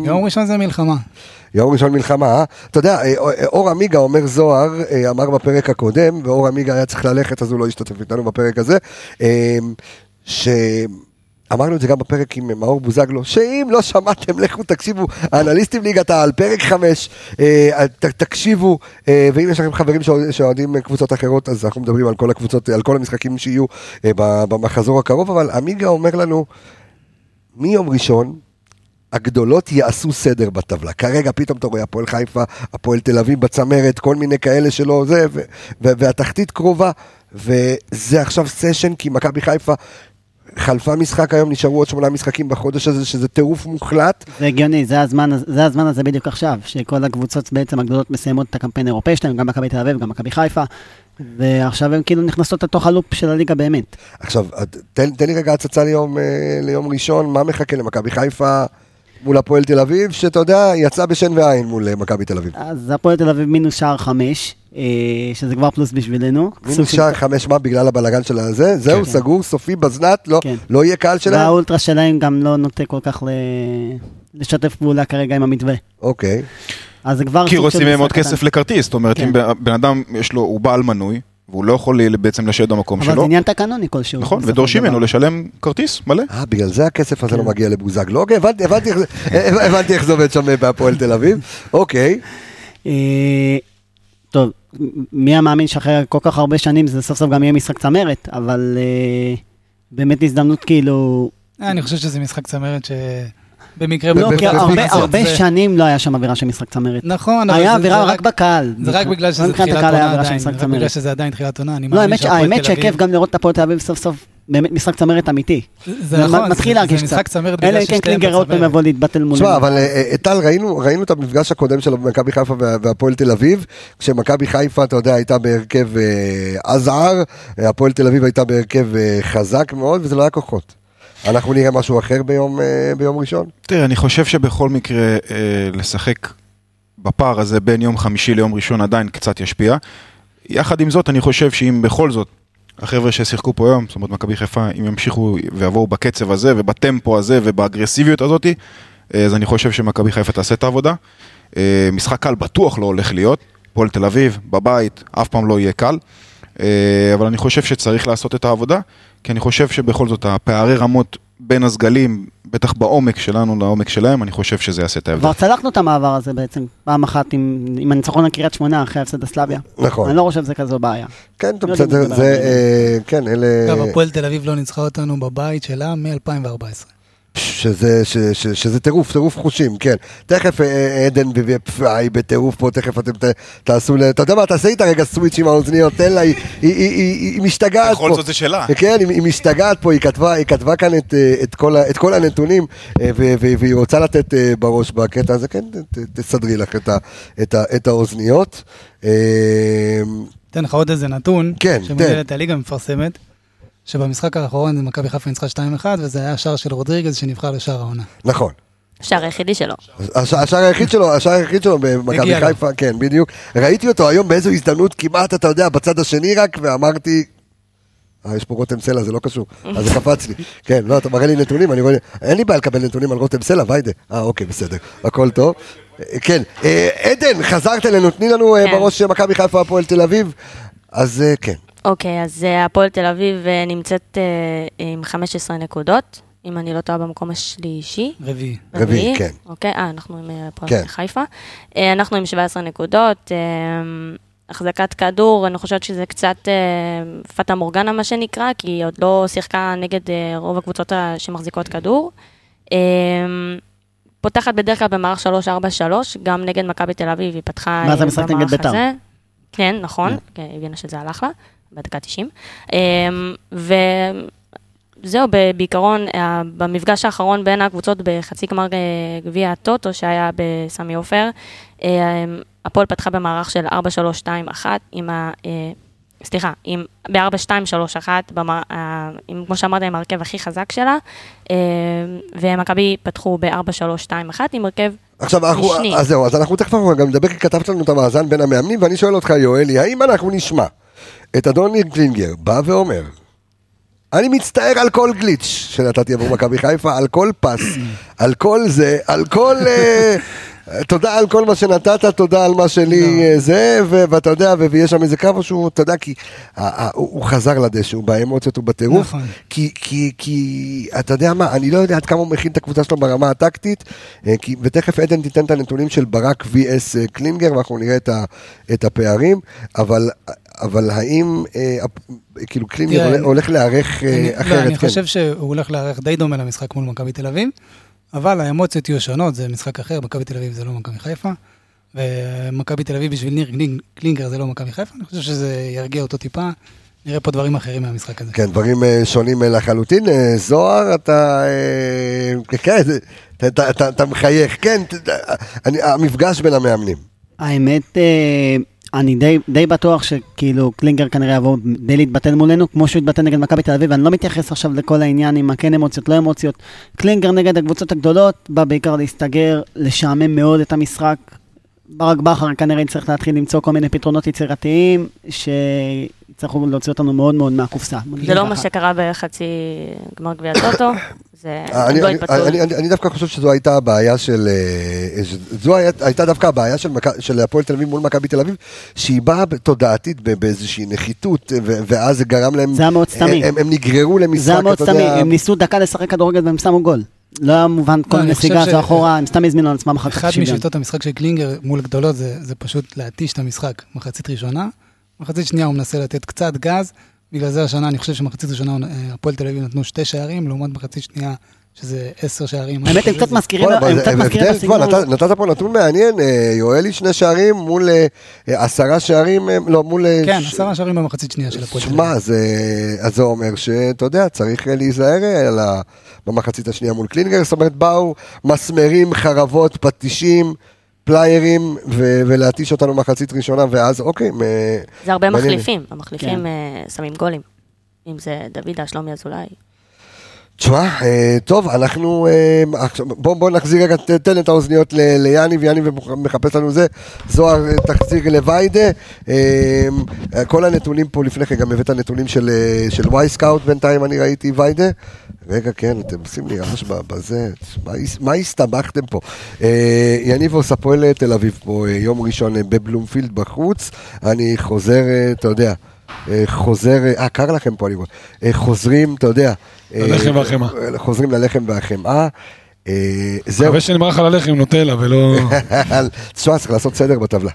S9: ויום ראשון זה מלחמה.
S1: יום ראשון מלחמה, אה? אתה יודע, אה, אה, אור עמיגה אומר זוהר, אה, אמר בפרק הקודם, ואור עמיגה היה צריך ללכת, אז הוא לא השתתף איתנו בפרק הזה, אה, ש... אמרנו את זה גם בפרק עם מאור בוזגלו, שאם לא שמעתם, לכו תקשיבו, האנליסטים ליגת העל, פרק 5, תקשיבו, אה, ואם יש לכם חברים שאוה- שאוהדים אה, קבוצות אחרות, אז אנחנו מדברים על כל הקבוצות, אה, על כל המשחקים שיהיו אה, ב- במחזור הקרוב, אבל עמיגה אומר לנו, מיום ראשון, הגדולות יעשו סדר בטבלה. כרגע פתאום אתה רואה הפועל חיפה, הפועל תל אביב בצמרת, כל מיני כאלה שלא זה, ו- ו- והתחתית קרובה, וזה עכשיו סשן, כי מכבי חיפה חלפה משחק היום, נשארו עוד שמונה משחקים בחודש הזה, שזה טירוף מוחלט.
S10: זה הגיוני, זה הזמן, הזה- זה הזמן הזה בדיוק עכשיו, שכל הקבוצות בעצם הגדולות מסיימות את הקמפיין האירופאי שלהם, גם מכבי תל אביב, גם מכבי חיפה, ועכשיו הן כאילו נכנסות לתוך הלופ של הליגה באמת.
S1: עכשיו, את- תן, תן לי רגע הצצה ליום, אה, ליום ראשון, מה מחכה למכבי חיפה מול הפועל תל אביב, שאתה יודע, יצא בשן ועין מול אה, מכבי תל אביב.
S10: אז הפועל תל אביב מינוס שער חמש, אה, שזה כבר פלוס בשבילנו. סוג
S1: מינוס
S10: של-
S1: שער חמש מה בגלל הבלאגן של הזה, זהו,
S10: כן.
S1: סגור, סופי, בזנת, לא,
S10: כן.
S1: לא יהיה קהל שלהם?
S10: והאולטרה שלהם גם לא נוטה כל כך ל... לשתף פעולה כרגע עם המתווה.
S1: אוקיי.
S10: אז זה כבר
S7: כי
S10: סוג של
S7: רוצים מהם
S10: משחק
S7: עוד
S10: קטן.
S7: כסף לכרטיס, זאת אומרת,
S10: כן.
S7: אם בן- בן אדם, יש לו, הוא בעל מנוי, והוא לא יכול ל- בעצם לשבת במקום
S10: אבל זה
S7: שלו,
S10: עניין תקנוני כלשהו.
S7: נכון,
S10: בסופו של
S7: ודורשים
S10: דבר.
S7: ממנו לשלם כרטיס מלא.
S1: אה, בגלל זה הכסף הזה לא
S10: כן.
S1: מגיע לבוזגלו. אוקיי, הבנתי- הבנתי איך זה- הבנתי איך זה עובד שם אה, בהפועל תל אביב. אוקיי.
S10: אה, טוב, מ- מי היה מאמין שאחרי כל כך הרבה שנים זה סוף סוף גם יהיה משחק צמרת, אבל אה, באמת הזדמנות כאילו...
S9: אה, אני חושב שזה משחק צמרת שבמקרה...
S10: לא, כי
S1: בפיקציה.
S10: הרבה-
S1: זה-
S10: הרבה
S9: זה-
S10: שנים לא היה שם אווירה של משחק צמרת.
S9: נכון, אבל
S10: היה
S9: זה- זה
S10: אווירה רק בקהל.
S9: זה רק בגלל
S10: לא
S9: שזה
S10: מבחינת
S9: תחילת
S10: הקהל היה
S9: עונה
S10: אווירה של
S9: עדיין,
S10: משחק
S9: רק בגלל
S10: צמרת.
S9: שזה עדיין תחילת עונה, אני
S10: לא,
S9: מאמין
S10: האמת ש-
S9: שהפועל
S10: האמת
S9: תל אביב...
S10: שכיף גם לראות את הפועל תל אביב סוף סוף באמת משחק צמרת אמיתי.
S9: זה
S10: מ-
S9: נכון,
S10: מתחיל
S9: זה-
S10: להרגיש
S9: זה
S10: קצת.
S9: משחק צמרת
S10: אלא
S9: בגלל
S10: אם כן
S9: ששתיהם
S10: קלינגר עוד פעם
S9: בצמרת.
S10: יבוא להתבטל מולנו.
S1: תשמע, אבל אה, אה, טל, ראינו ראינו את המפגש הקודם של מכבי חיפה וה- והפועל תל אביב, כשמכבי חיפה, אתה יודע, הייתה בהרכב אה, עזר, אה, הפועל תל אביב הייתה בהרכב אה, חזק מאוד, וזה לא היה כוחות. אנחנו נראה משהו אחר ביום, אה, ביום ראשון?
S7: תראה, אני חושב שבכל מקרה אה, לשחק בפער הזה בין יום חמישי ליום ראשון עדיין קצת ישפיע. יחד עם זאת, אני חושב שאם בכל זאת, החבר'ה ששיחקו פה היום, זאת אומרת מכבי חיפה, אם ימשיכו ויבואו בקצב הזה ובטמפו הזה ובאגרסיביות הזאת, אה, אז אני חושב שמכבי חיפה תעשה את העבודה. אה, משחק קל בטוח לא הולך להיות, פועל תל אביב, בבית, אף פעם לא יהיה קל. אה, אבל אני חושב שצריך לעשות את העבודה, כי אני חושב שבכל זאת הפערי רמות בין הסגלים, בטח בעומק שלנו לעומק שלהם, אני חושב שזה יעשה את ההבדל.
S10: כבר צלחנו את המעבר הזה בעצם, פעם אחת עם עם הניצחון על קריית שמונה אחרי הפסד הסלביה.
S1: נכון.
S10: אני לא חושב שזה כזו בעיה.
S1: כן, טוב,
S10: לא
S1: בסדר,
S10: יודעים
S1: זה,
S10: לדבר.
S1: אה, כן, אלה...
S9: אגב, הפועל תל אביב לא ניצחה אותנו בבית שלה מ-2014.
S1: שזה, ש, ש, שזה טירוף, טירוף חושים, כן. תכף אה, אה, עדן ופאי בטירוף פה, תכף אתם ת, תעשו, ל- אתה יודע מה, תעשה איתה רגע סוויץ' עם האוזניות, תן לה, היא, היא, היא, היא, היא משתגעת פה.
S7: זה שלה.
S1: כן, היא, היא משתגעת פה, היא כתבה, היא כתבה כאן את, אה, את, כל, ה- את כל הנתונים, אה, ו, ו, והיא רוצה לתת אה, בראש בקטע הזה, כן, ת, ת- תסדרי לך את, ה, את, ה, את האוזניות. אה,
S9: אתן לך עוד איזה נתון,
S1: כן, תן.
S9: שמודלת הליגה מפרסמת, שבמשחק האחרון מכבי חיפה ניצחה 2-1, וזה היה שער של רודריגז שנבחר לשער העונה.
S1: נכון.
S6: השער היחידי שלו.
S1: הש- השער היחיד שלו, השער היחיד שלו במכבי
S9: הגיע לו.
S1: חיפה, כן, בדיוק. ראיתי אותו היום באיזו הזדמנות כמעט, אתה יודע, בצד השני רק, ואמרתי... אה, יש פה רותם סלע, זה לא קשור. אז זה קפץ לי. כן, לא, אתה מראה לי נתונים, אני רואה... אין לי בעיה לקבל נתונים על רותם סלע, ויידה. אה, אוקיי, בסדר. הכל טוב. אה, כן. אה, עדן, חזרת אלינו, תני לנו אה,
S6: כן.
S1: בראש אה, מכבי חיפה, הפועל תל אביב. אז אה, כן.
S6: אוקיי, אז אה, הפועל תל אביב אה, נמצאת אה, עם 15 נקודות, אם אני לא טועה במקום השלישי.
S9: רביעי.
S1: רביעי, כן.
S6: אוקיי, אה, אנחנו עם אה, הפועל
S1: כן.
S6: חיפה. אה, אנחנו עם 17 נקודות, אה, החזקת כדור, אני חושבת שזה קצת אה, פטה מורגנה מה שנקרא, כי היא עוד לא שיחקה נגד אה, רוב הקבוצות ה- שמחזיקות כדור. אה, פותחת בדרך כלל במערך 3-4-3, גם נגד מכבי תל אביב היא פתחה
S10: ואז
S6: אה,
S10: המשחק נגד
S6: במערך
S10: בית"ר.
S6: הזה. כן, נכון, כן, היא הבינה שזה הלך לה, בדקה 90. אה, ו... זהו, ב- בעיקרון, ה- במפגש האחרון בין הקבוצות בחצי גמר אה, גביע הטוטו שהיה בסמי עופר, אה, הפועל פתחה במערך של 4-3-2-1 עם ה... אה, סליחה, עם, ב-4-2-3-1, במה- ה- אה, עם, כמו שאמרת, עם ההרכב הכי חזק שלה, אה, ומכבי פתחו ב-4-3-2-1 עם הרכב
S1: עכשיו, אנחנו,
S6: משני.
S1: אז זהו, אז אנחנו תכף אנחנו גם נדבר, כי כתבת לנו את המאזן בין המאמנים, ואני שואל אותך, יואלי, האם אנחנו נשמע את אדון ניר קלינגר בא ואומר, אני מצטער על כל גליץ' שנתתי עבור מכבי חיפה, על כל פס, על כל זה, על כל... אה, תודה על כל מה שנתת, תודה על מה שלי אה, זה, ו- ואתה יודע, ו- ויש שם איזה קו שהוא, אתה יודע, כי ה- ה- הוא הוא חזר לדשא, הוא באמוציות, הוא בטירוף,
S9: נכון.
S1: כי, כי, כי אתה יודע מה, אני לא יודע עד כמה הוא מכין את הקבוצה שלו ברמה הטקטית, אה, כי, ותכף עדן תיתן את הנתונים של ברק vs אה, קלינגר, ואנחנו נראה את, ה, את הפערים, אבל, אבל האם, אה, הפ- כאילו קלינגר
S9: תראה,
S1: הולך-
S9: אני-
S1: הולך להיערך אה,
S9: אני-
S1: אחרת,
S9: לא, אני
S1: כן.
S9: חושב שהוא הולך לארח די דומה למשחק מול מכבי תל אביב, אבל האמוציות יהיו שונות, זה משחק אחר, מכבי תל אביב זה לא מכבי חיפה, ומכבי תל אביב בשביל ניר גלינג- קלינגר זה לא מכבי חיפה, אני חושב שזה ירגיע אותו טיפה, נראה פה דברים אחרים מהמשחק הזה.
S1: כן, דברים אה, שונים אה, לחלוטין. אה, זוהר, אתה... אה, כן, זה- אתה- אתה- אתה- אתה מחייך. כן, ת- אני- המפגש בין המאמנים.
S10: האמת, אה, אני די, די בטוח שכאילו קלינגר כנראה יבוא די להתבטל מולנו, כמו שהוא התבטל נגד מכבי תל אביב, ואני לא מתייחס עכשיו לכל העניין עם הכן אמוציות, לא אמוציות. קלינגר נגד הקבוצות הגדולות, בא בעיקר להסתגר, לשעמם מאוד את המשחק. ברק בכר כנראה יצטרך להתחיל למצוא כל מיני פתרונות יצירתיים, שיצטרכו להוציא אותנו מאוד מאוד מהקופסה. בוא נגיד
S6: זה לא
S10: ככה.
S6: מה שקרה בחצי גמר גביע טוטו, זה
S1: אה,
S6: הם
S1: אני-
S6: לא
S1: אני-
S6: התפצלו.
S1: אני- אני- אני דווקא חושב שזו הייתה הבעיה של... אה, ש- זו היה- הייתה דווקא הבעיה של מכ- של הפועל תל אביב מול מכבי תל אביב, שהיא באה ב- תודעתית ב- באיזושהי נחיתות, אה, ו- ואז זה גרם להם... אה,
S10: זה היה מאוד סתמי.
S1: הם- הם נגררו למשחק,
S10: זה היה מאוד
S1: אתה יודע,
S10: סתמי, הם ניסו דקה לשחק כדורגל והם שמו גול. לא היה מובן כל
S9: אני
S10: נסיגה
S9: חושב ש-
S10: הזו אחורה, הם סתם הזמינו על עצמם אחר כך
S9: אחת
S10: שוויון.
S9: משיטות המשחק של קלינגר מול גדולות זה, זה פשוט להתיש את המשחק מחצית ראשונה, מחצית שנייה הוא מנסה לתת קצת גז, בגלל זה השנה אני חושב שמחצית ראשונה אה, הפועל תל אביב נתנו שתי שערים, לעומת מחצית שנייה שזה עשר שערים.
S10: האמת,
S9: משהו
S10: הם קצת
S9: כזה.
S10: מזכירים
S1: בוא'נה,
S10: הם
S1: אבל
S10: קצת
S1: זה-
S10: מזכירים
S1: הבדל,
S10: בסגנון.
S1: בוא, נת- נתת פה נתון מעניין, אה, יואלי שני שערים מול אה, אה, עשרה שערים, אה, לא, מול... אה,
S9: כן,
S1: ש-
S9: עשרה שערים במחצית שנייה של הפועל תל אביב.
S1: שמע, זה- אז זה אומר שאתה יודע, צריך אה, להיזהר על ה- במחצית השנייה מול קלינגר, זאת אומרת, באו מסמרים, חרבות, פטישים, פליירים, ו- ולהתיש אותנו מחצית ראשונה, ואז אוקיי, מ-
S6: זה הרבה
S1: מעניין.
S6: מחליפים, המחליפים אה, שמים גולים. אם זה דוידה, שלומי אזולאי.
S1: תשמע, אה, טוב, אנחנו... אה, עכשיו, בוא, בוא נחזיר רגע, ת- תן את האוזניות ל- ליאני, ויאני מחפש לנו זה. זוהר, אה, תחזיר לוויידה. אה, כל הנתונים פה לפני כן, גם הבאת נתונים של, אה, של וואי סקאוט בינתיים, אני ראיתי ויידה. רגע, כן, אתם עושים לי רעש ב- בזה, מה, הס- מה הסתבכתם פה? אה, יניבוס, הפועל תל אביב פה, אה, יום ראשון אה, בבלומפילד בחוץ, אני חוזר, אה, אתה יודע, אה, חוזר, אה, אה, קר לכם פה, אני רואה, אה, חוזרים, אתה יודע, אה,
S5: ללחם והחמאה.
S1: אה, חוזרים ללחם והחמאה. אה, זהו,
S5: מקווה שנמרח על הלחם עם נוטלה ולא...
S1: תשמע, צריך לעשות סדר בטבלה.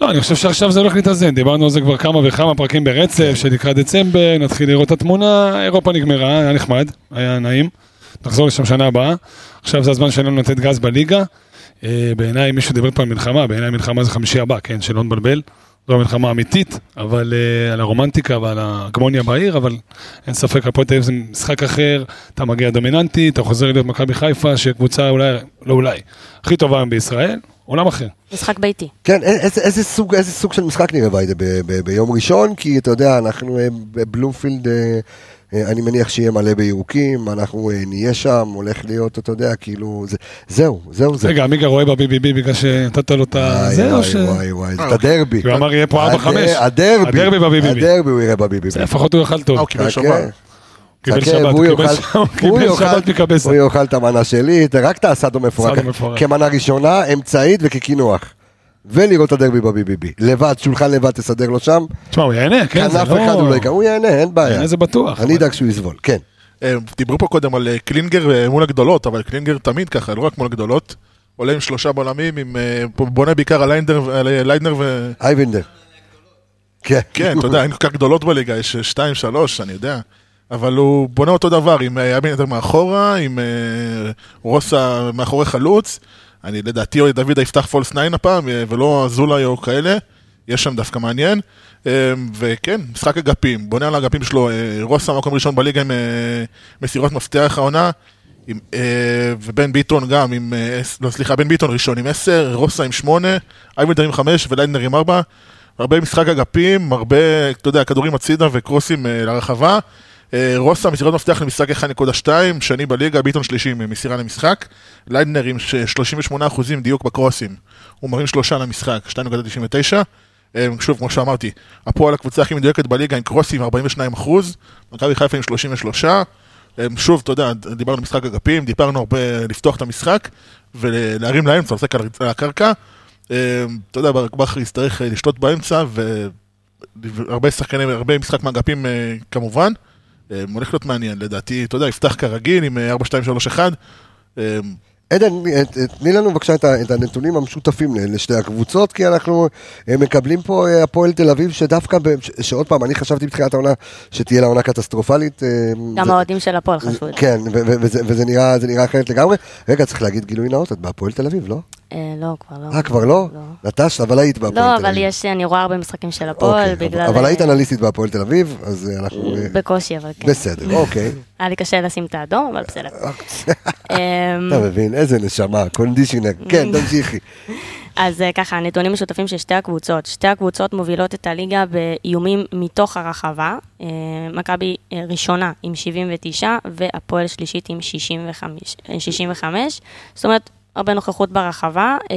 S5: לא, אני חושב שעכשיו זה הולך להתאזן, דיברנו על זה כבר כמה וכמה פרקים ברצף, שלקראת דצמבר נתחיל לראות את התמונה, אירופה נגמרה, היה נחמד, היה נעים, נחזור לשם שנה הבאה, עכשיו זה הזמן שלנו לתת גז בליגה, אה, בעיניי מישהו דיבר פה על מלחמה, בעיניי מלחמה זה חמישי הבא, כן, שלא נבלבל, זו המלחמה האמיתית, אבל אה, על הרומנטיקה ועל ההגמוניה בעיר, אבל אין ספק, הפועל תל אביב זה משחק אחר, אתה מגיע דומיננטי, אתה חוזר להיות מכבי חיפה, שקבוצה אולי, לא אולי, הכי טובה היום בישראל, עולם אחר.
S6: משחק ביתי.
S1: כן, א- איזה, איזה, סוג, איזה סוג של משחק נראה ויידה ב, ב, ביום ראשון? כי אתה יודע, אנחנו אה, בבלומפילד, אה, אה, אני מניח שיהיה מלא בירוקים, אנחנו אה, נהיה שם, הולך להיות, אתה יודע, כאילו, זה, זהו, זהו זה.
S5: רגע, עמיגה רואה ב-BBB בגלל שנתת לו את ה...
S1: וואי,
S5: זה או
S1: וואי,
S5: ש...
S1: וואי, וואי, זה את הדרבי.
S5: הוא אמר יהיה פה
S1: הד-
S5: 4-5.
S1: הדרבי.
S5: הדרבי בביביבי.
S1: הדרבי הוא יראה בביביבי.
S5: זה, לפחות הוא יאכל טוב.
S3: אה, הוא קיבל
S1: חכה,
S3: שבת.
S5: קיבל
S1: חכה,
S5: שבת,
S1: אוקיי, והוא
S5: קיבל
S1: יאכל-
S5: שבת, הוא
S1: הוא
S5: קיבל
S1: יאכל-
S5: שבת מקבסה.
S1: הוא יאכל את המנה שלי, את- רק את הסאדו מפורק.
S5: סאדו מפורק.
S1: כמנה ראשונה, אמצעית וכקינוח. ולראות את הדרבי בביביבי. לבד, שולחן לבד, תסדר לו שם.
S5: תשמע, הוא ייהנה, כן,
S1: כאן
S5: זה
S1: אף אחד הוא לא יקרה, הוא ייהנה, אין בעיה.
S5: ייהנה זה בטוח.
S1: אני אדאג שהוא יסבול, כן.
S3: אה, דיברו פה קודם על אה, קלינגר אה, מול הגדולות, אבל קלינגר תמיד ככה, לא רק מול הגדולות. עולה עם שלושה בלמים, עם, אה, בונה בעיקר על ליינדר ו- על, אה, ליידנר ו...
S1: אייבנדר. כן.
S3: כן, אתה יודע, אין כל כך גדולות בליגה, יש אה, שתיים, שלוש, אני יודע. אבל הוא בונה אותו דבר, עם אה, יבין יותר מאחורה, עם אה, רוסה מאחורי חלוץ. אני לדעתי, אוי, דוד יפתח פולס 9 הפעם, אה, ולא אזולאי או כאלה. יש שם דווקא מעניין. אה, וכן, משחק אגפים, בונה על האגפים שלו, אה, רוסה מקום ראשון בליגה עם אה, מסירות מפתח העונה. עם, אה, ובן ביטון גם עם, אה, עש- לא סליחה, בן ביטון ראשון עם 10, רוסה עם 8, אייבנדר עם 5 וליידנר עם 4. הרבה משחק אגפים, הרבה, אתה יודע, כדורים הצידה וקרוסים אה, לרחבה. אה, רוסה מסירת מפתח למשחק 1.2, שני בליגה, ביטון שלישי עם מסירה למשחק. ליידנר עם ש- 38% דיוק בקרוסים, הוא מרים שלושה למשחק, 2.99. אה, שוב, כמו שאמרתי, הפועל הקבוצה הכי מדויקת בליגה עם קרוסים 42 אחוז, מכבי חיפה עם 33. אה, שוב, אתה יודע, דיברנו משחק אגפים, דיברנו הרבה לפתוח את המשחק ולהרים לאמצע, לשחק על על הקרקע. אה, אתה יודע, ברק בכר יצטרך אה, לשלוט באמצע, ו- והרבה שחקנים, הרבה משחק מאגפים אה, כמובן. אה, הולך להיות מעניין, לדעתי, אתה יודע, יפתח כרגיל עם אה, 4, 2, 3, 1. אה,
S1: עדן, אה, תני לנו בבקשה את ה- את הנתונים המשותפים ל- לשתי הקבוצות, כי אנחנו אה, מקבלים פה אה, הפועל תל אביב, שדווקא, ב- ש- שעוד פעם, אני חשבתי בתחילת העונה שתהיה לה עונה קטסטרופלית. אה,
S6: גם
S1: זה-
S6: האוהדים של הפועל חשבו את זה.
S1: כן, ו- ו- וזה וזה נראה זה נראה אחרת לגמרי. רגע, צריך להגיד גילוי נאות, את בהפועל תל אביב, לא?
S6: אה, לא, כבר לא.
S1: אה, כבר לא?
S6: לא.
S1: נטשת, אבל היית בהפועל תל
S6: לא,
S1: אביב.
S6: אבל יש, אני רואה הרבה משחקים של
S1: אוקיי,
S6: הפועל,
S1: אבל-
S6: בגלל...
S1: אבל
S6: אה,
S1: היית אנליסטית בהפועל תל אביב, אז אה, אנחנו... אה,
S6: בקושי, אבל כן.
S1: בסדר, אוקיי.
S6: היה לי קשה לשים את האדום, אבל בסדר. אמ,
S1: אתה מבין, איזה נשמה, קונדישיונר. כן, תמשיכי.
S6: אוקיי. אז אה, ככה, הנתונים משותפים של שתי הקבוצות. שתי הקבוצות מובילות את הליגה באיומים מתוך הרחבה. אה, מכבי אה, ראשונה עם 79, והפועל שלישית עם 65. אה, 65. זאת אומרת, הרבה נוכחות ברחבה. אה,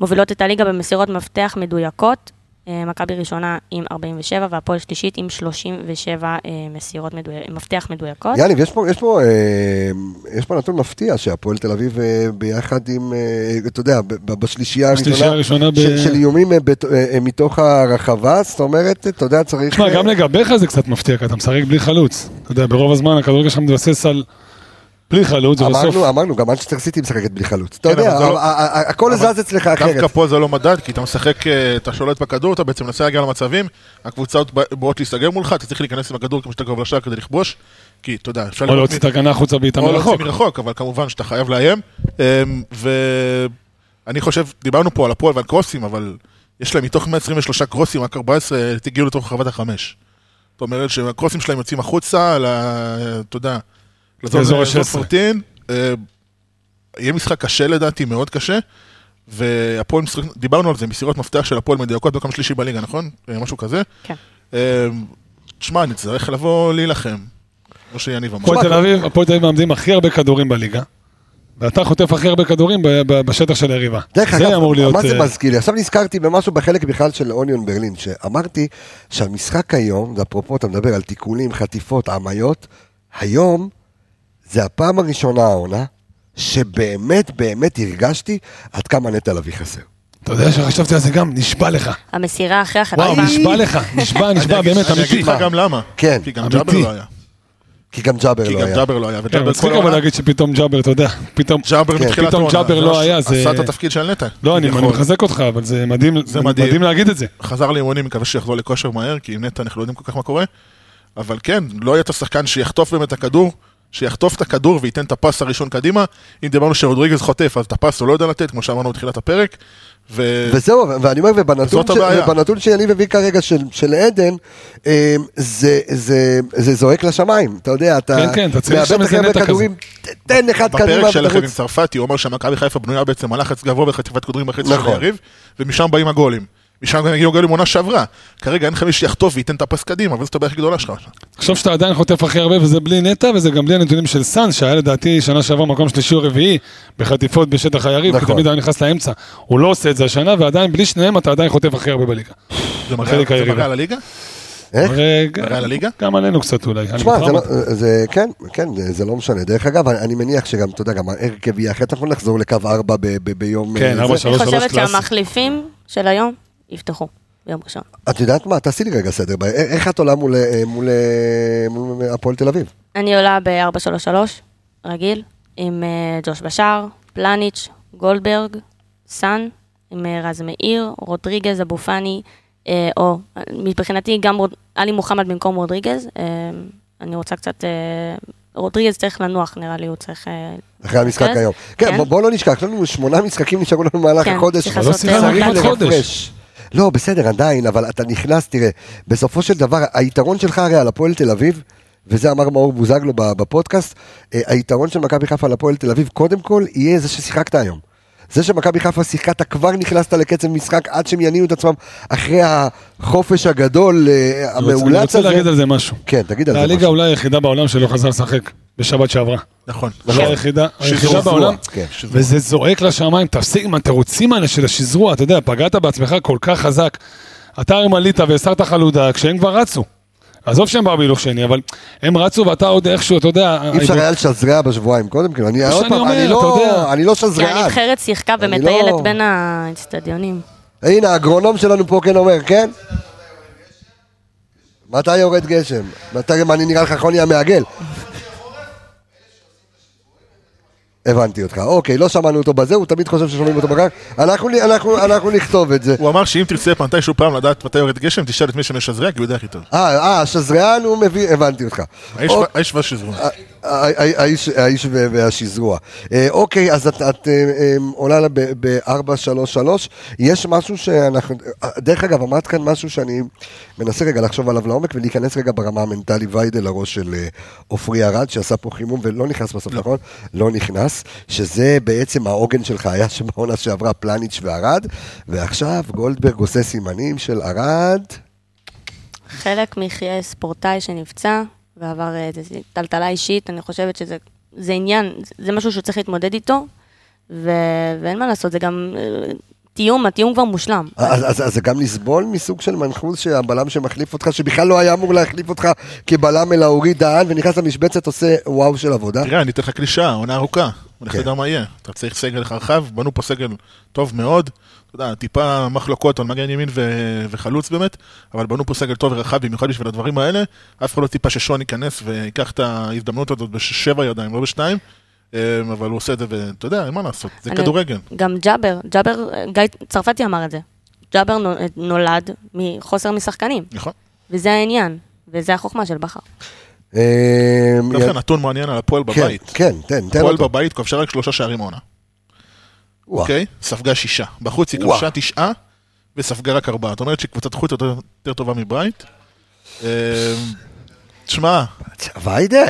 S6: מובילות את הליגה במסירות מפתח מדויקות. אה, מכבי ראשונה עם 47, והפועל שלישית עם 37 אה, מסירות מדויק, מפתח מדויקות.
S1: יניב, יש פה- יש פה, אה, יש פה נתון מפתיע שהפועל תל אביב אה, ביחד עם, אה, אתה יודע, ב- ב- בשלישייה
S5: השלישייה
S1: הראשונה
S5: הראשונה ב...
S1: של- של איומים אה, בת- אה, אה, מתוך הרחבה, זאת אומרת, אתה יודע, צריך...
S5: תשמע,
S1: אה,
S5: גם לגביך זה קצת מפתיע, כי אתה משחק בלי חלוץ. אתה יודע, ברוב הזמן הכדורגל שלך מתבסס על... בלי חלוץ, ובסוף...
S1: אמרנו, אמרנו, גם אנשטר סיטי משחקת בלי חלוץ. אתה
S3: כן,
S1: יודע,
S3: אבל זה לא-
S1: ה- ה- ה- הכל
S3: אבל
S1: זז אצלך אחרת.
S3: דווקא פה זה לא מדד, כי אתה משחק, אה, אתה שולט בכדור, אתה בעצם מנסה להגיע למצבים, הקבוצות בא- באות להסתגר מולך, אתה צריך להיכנס עם הכדור כמה שיותר קרוב לשער כדי לכבוש, כי אתה יודע, אפשר
S5: או
S3: לראות
S5: להוציא את ההגנה החוצה בעיטה
S3: או
S5: מרחוק.
S3: להוציא מרחוק, אבל כמובן שאתה חייב לאיים. אמ, ואני חושב, דיברנו פה על הפועל ועל קרוסים, אבל יש להם מתוך 123 קרוסים, רק 14 הגיעו לתוך רחבת החמש. זאת אומרת שהקרוסים שלהם יוצאים החוצה, ל- אתה יודע, לזון-
S5: לאזור
S3: לזון
S5: ה-16.
S3: פורטין. אמ, יהיה משחק קשה לדעתי, מאוד קשה. והפועל, משחק- דיברנו על זה, מסירות מפתח של הפועל מדויקות במקום שלישי בליגה, נכון? אה, משהו כזה.
S6: כן.
S3: אמ, תשמע, נצטרך לבוא להילחם, כמו שיניב אמר.
S5: הפועל תל אביב, הפועל תל אביב מאמדים הכי הרבה כדורים בליגה. ואתה חוטף הכי הרבה כדורים ב- ב- בשטח של היריבה.
S1: דרך
S5: זה
S1: אגב,
S5: אמור להיות...
S1: מה זה
S5: אה,
S1: מזכיר לי? עכשיו נזכרתי במשהו בחלק בכלל של אוניון ברלין, שאמרתי שהמשחק היום, זה אפרופו, אתה מדבר על תיקולים, חטיפות, עמיות, היום זה הפעם הראשונה העונה שבאמת באמת הרגשתי עד כמה נטע לביא חסר.
S5: אתה יודע שחשבתי על זה גם, נשבע לך.
S6: המסירה אחרי החטיפה...
S5: וואו, נשבע לך, נשבע, נשבע,
S3: אני אגיד-
S5: באמת,
S3: אני
S5: אמיתי.
S3: אגיד לך גם למה.
S1: כן,
S3: כי גם
S5: אמיתי.
S3: ג'אבר לא היה.
S1: כי גם ג'אבר
S3: כי
S1: לא
S3: גם
S1: היה.
S3: ג'אבר לא היה.
S5: כן,
S3: וג'אבר כל
S5: מצחיק אבל
S3: העונה-
S5: להגיד שפתאום ג'אבר, אתה יודע, פתאום...
S3: ג'אבר
S1: כן.
S3: מתחילת
S5: פתאום
S3: העונה.
S5: ג'אבר לא היה, זה-
S3: עשה את התפקיד של נטע.
S5: לא, אני אני
S3: כביכול.
S5: מחזק אותך, אבל זה מדהים,
S3: זה
S5: זה
S3: מדהים.
S5: מדהים להגיד את זה.
S3: חזר לאימונים, מקווה שיחזור לכושר מהר, כי עם נטע אנחנו לא יודעים כל כך מה קורה. אבל כן, לא היה את השחקן שיחטוף באמת את הכדור, שיחטוף את הכדור וייתן את הפס הראשון קדימה. אם דיברנו שרודריגז חוטף, אז את הפס הוא לא יודע לתת, כמו שאמרנו בתחילת הפרק. ו...
S1: וזהו, ואני אומר, ובנתון,
S3: וזאת
S1: ש...
S3: הבעיה.
S1: ובנתון שאני מביא כרגע של, של עדן, אה, זה, זה, זה זועק לשמיים, אתה יודע, אתה
S5: כן, כן, אתה צריך שם איזה
S1: הרבה
S5: נטע כזה.
S1: כדורים, ת- תן אחד קדימה
S3: בפרק שלכם עם
S1: ותרוץ.
S3: צרפתי, הוא אומר שמכבי חיפה בנויה בעצם על לחץ גבוה וחטיפת כדורים בחצי של
S1: נכון.
S3: היריב, ומשם באים הגולים. משם גם הגיעו גולים עונה שעברה. כרגע אין לך מי שיחטוף וייתן את הפס קדימה, אבל זאת הבעיה הכי גדולה שלך.
S5: תחשוב שאתה עדיין חוטף הכי הרבה, וזה בלי נטע, וזה גם בלי הנתונים של סאן, שהיה לדעתי שנה שעבר מקום שלישי או רביעי בחטיפות בשטח היריב, כי
S1: נכון.
S5: תמיד היה נכנס לאמצע. הוא לא עושה את זה השנה, ועדיין בלי שניהם אתה עדיין חוטף הכי הרבה בליגה.
S3: זה מראה
S5: חלק
S3: זה
S5: היריבה.
S3: מראה על הליגה?
S1: איך?
S5: הרי ג-
S3: מראה על הליגה?
S5: גם עלינו קצת אולי. אני
S1: תשמע, זה
S5: בטראומה.
S1: לא, זה, כן, כן, זה- זה לא משנה. דרך אגב, אני- אני מניח שגם, אתה יודע, גם ההרכב יהיה אחרת, אנחנו נחזור לקו 4 ב, ב, ביום...
S5: כן,
S1: אה,
S5: ארבע
S1: זה.
S5: שלוש
S6: אני חושבת
S5: שלוש קלאסי.
S6: שהמחליפים של היום יפתחו ביום ראשון.
S1: את יודעת מה, תעשי לי רגע סדר, ב- א- איך את עולה מול, אה, מול, אה, מול הפועל תל אביב?
S6: אני עולה ב-433, רגיל, עם אה, ג'וש בשאר, פלניץ', גולדברג, סאן, עם אה, רז מאיר, רודריגז, אבו פאני, אה, או אה, מבחינתי גם רוד- עלי מוחמד במקום רודריגז. אה, אני רוצה קצת... אה, רודריגז צריך לנוח, נראה לי, הוא צריך... אה,
S1: אחרי המשחק
S6: להתרכז.
S1: היום. כן,
S6: כן.
S1: בוא- בוא לא נשכח, יש לנו שמונה משחקים נשארו לנו במהלך
S6: כן,
S1: החודש.
S6: צריך לעשות, אה,
S1: צריך
S5: כמעט
S6: רוטציה.
S5: חודש.
S1: לרפרש. לא, בסדר, עדיין, אבל אתה נכנס, תראה, בסופו של דבר, היתרון שלך הרי על הפועל תל אביב, וזה אמר מאור בוזגלו ב- בפודקאסט, אה, היתרון של מכבי חיפה על הפועל תל אביב, קודם כל, יהיה זה ששיחקת היום. זה שמכבי חיפה שיחקה, אתה כבר נכנסת לקצב משחק עד שהם יניעו את עצמם אחרי החופש הגדול, אה,
S5: אני רוצה- אני
S1: המאולץ
S5: רוצה
S1: הזה.
S5: להגיד על זה משהו.
S1: כן, תגיד על
S5: זה
S1: זה
S5: הליגה
S1: משהו.
S5: אולי היחידה בעולם שלא חזר לשחק בשבת שעברה.
S3: נכון.
S5: אולי היחידה היחידה
S1: זעזוע,
S5: בעולם,
S1: כן.
S5: וזה זועק לשמיים, תפסיק עם התירוצים האלה של השזרוע, אתה יודע, פגעת בעצמך כל כך חזק. אתה היום עלית והסרת חלודה כשהם כבר רצו. עזוב שהם באו בהילוך שני, אבל הם רצו ואתה עוד איכשהו, אתה יודע...
S1: אי אפשר היה לשזרע בשבועיים קודם, כאילו, אני
S5: מה
S1: עוד
S5: שאני
S1: פעם,
S5: אומר,
S1: אני
S5: אתה
S1: לא-
S5: יודע.
S1: אני לא
S6: כי
S1: שזרען.
S6: הנבחרת שיחקה
S1: אני
S6: ומטיילת
S1: לא-
S6: בין האצטדיונים.
S1: הנה, האגרונום שלנו פה כן אומר, כן? מתי יורד גשם? מתי, מה, אני נראה לך נכון, חוני המעגל? הבנתי אותך. אוקיי, לא שמענו אותו בזה, הוא תמיד חושב ששומעים אותו בגן. אנחנו, אנחנו, אנחנו נכתוב את זה.
S3: הוא אמר שאם תרצה מתישהו פעם לדעת מתי יורד גשם, תשאל את מי שמשזרע, כי הוא יודע הכי טוב.
S1: אה, אה, השזריאן הוא מביא, הבנתי אותך.
S3: האיש
S1: אוקיי.
S3: ו- האיש והשזרוע.
S1: הא- הא- האיש האיש ו- והשזרוע. אה, אוקיי, אז את, את אה, אה, עולה לה ב- ב-433. יש משהו שאנחנו... אה, דרך אגב, אמרת כאן משהו שאני מנסה רגע לחשוב עליו לעומק ולהיכנס רגע ברמה המנטלית ויידה לראש של אה, עופרי ארד, שעשה פה חימום ולא נכנס בסוף, נכון? לא נכנס. שזה בעצם העוגן שלך היה שבעונה שעברה פלניץ' וארד, ועכשיו גולדברג עושה סימנים של ארד.
S6: חלק מחיי ספורטאי שנפצע ועבר איזו טלטלה אישית, אני חושבת שזה זה עניין, זה משהו שהוא צריך להתמודד איתו, ו, ואין מה לעשות, זה גם אה, תיאום, התיאום כבר מושלם.
S1: אז, אז, אז זה גם לסבול מסוג של מנחוס שהבלם שמחליף אותך, שבכלל לא היה אמור להחליף אותך כבלם אלא הוריד דהן ונכנס למשבצת עושה וואו של עבודה.
S3: תראה, אני אתן לך קלישאה, עונה ארוכה. אני
S1: כן.
S3: לא יודע מה יהיה. אתה צריך סגל רחב, בנו פה סגל טוב מאוד. אתה יודע, טיפה מחלוקות על מגן ימין ו- וחלוץ באמת, אבל בנו פה סגל טוב ורחב במיוחד בשביל הדברים האלה. אף אחד לא טיפה ששון ייכנס ויקח את ההזדמנות הזאת בשבע ידיים, לא בשתיים. אמ, אבל הוא עושה את זה, ואתה יודע, אין מה לעשות, זה
S6: אני-
S3: כדורגל.
S6: גם ג'אבר, ג'אבר, אה, גיא צרפתי אמר את זה. ג'אבר נו- אה, נולד מחוסר משחקנים,
S3: נכון.
S6: וזה העניין, וזה החוכמה של בכר.
S1: אה,
S3: דווקא נתון מעניין על הפועל
S1: כן,
S3: לא בבית.
S1: כן, תן, תן
S3: הפועל
S1: אותו.
S3: בבית כבשה רק שלושה שערים העונה.
S1: וואו.
S3: אוקיי? ספגה שישה. בחוץ היא
S1: וואו.
S3: כבשה תשעה, וספגה רק ארבעה. זאת אומרת שקבוצת חוץ יותר יותר טובה מברייט. אמ, תשמע,
S1: ויידה,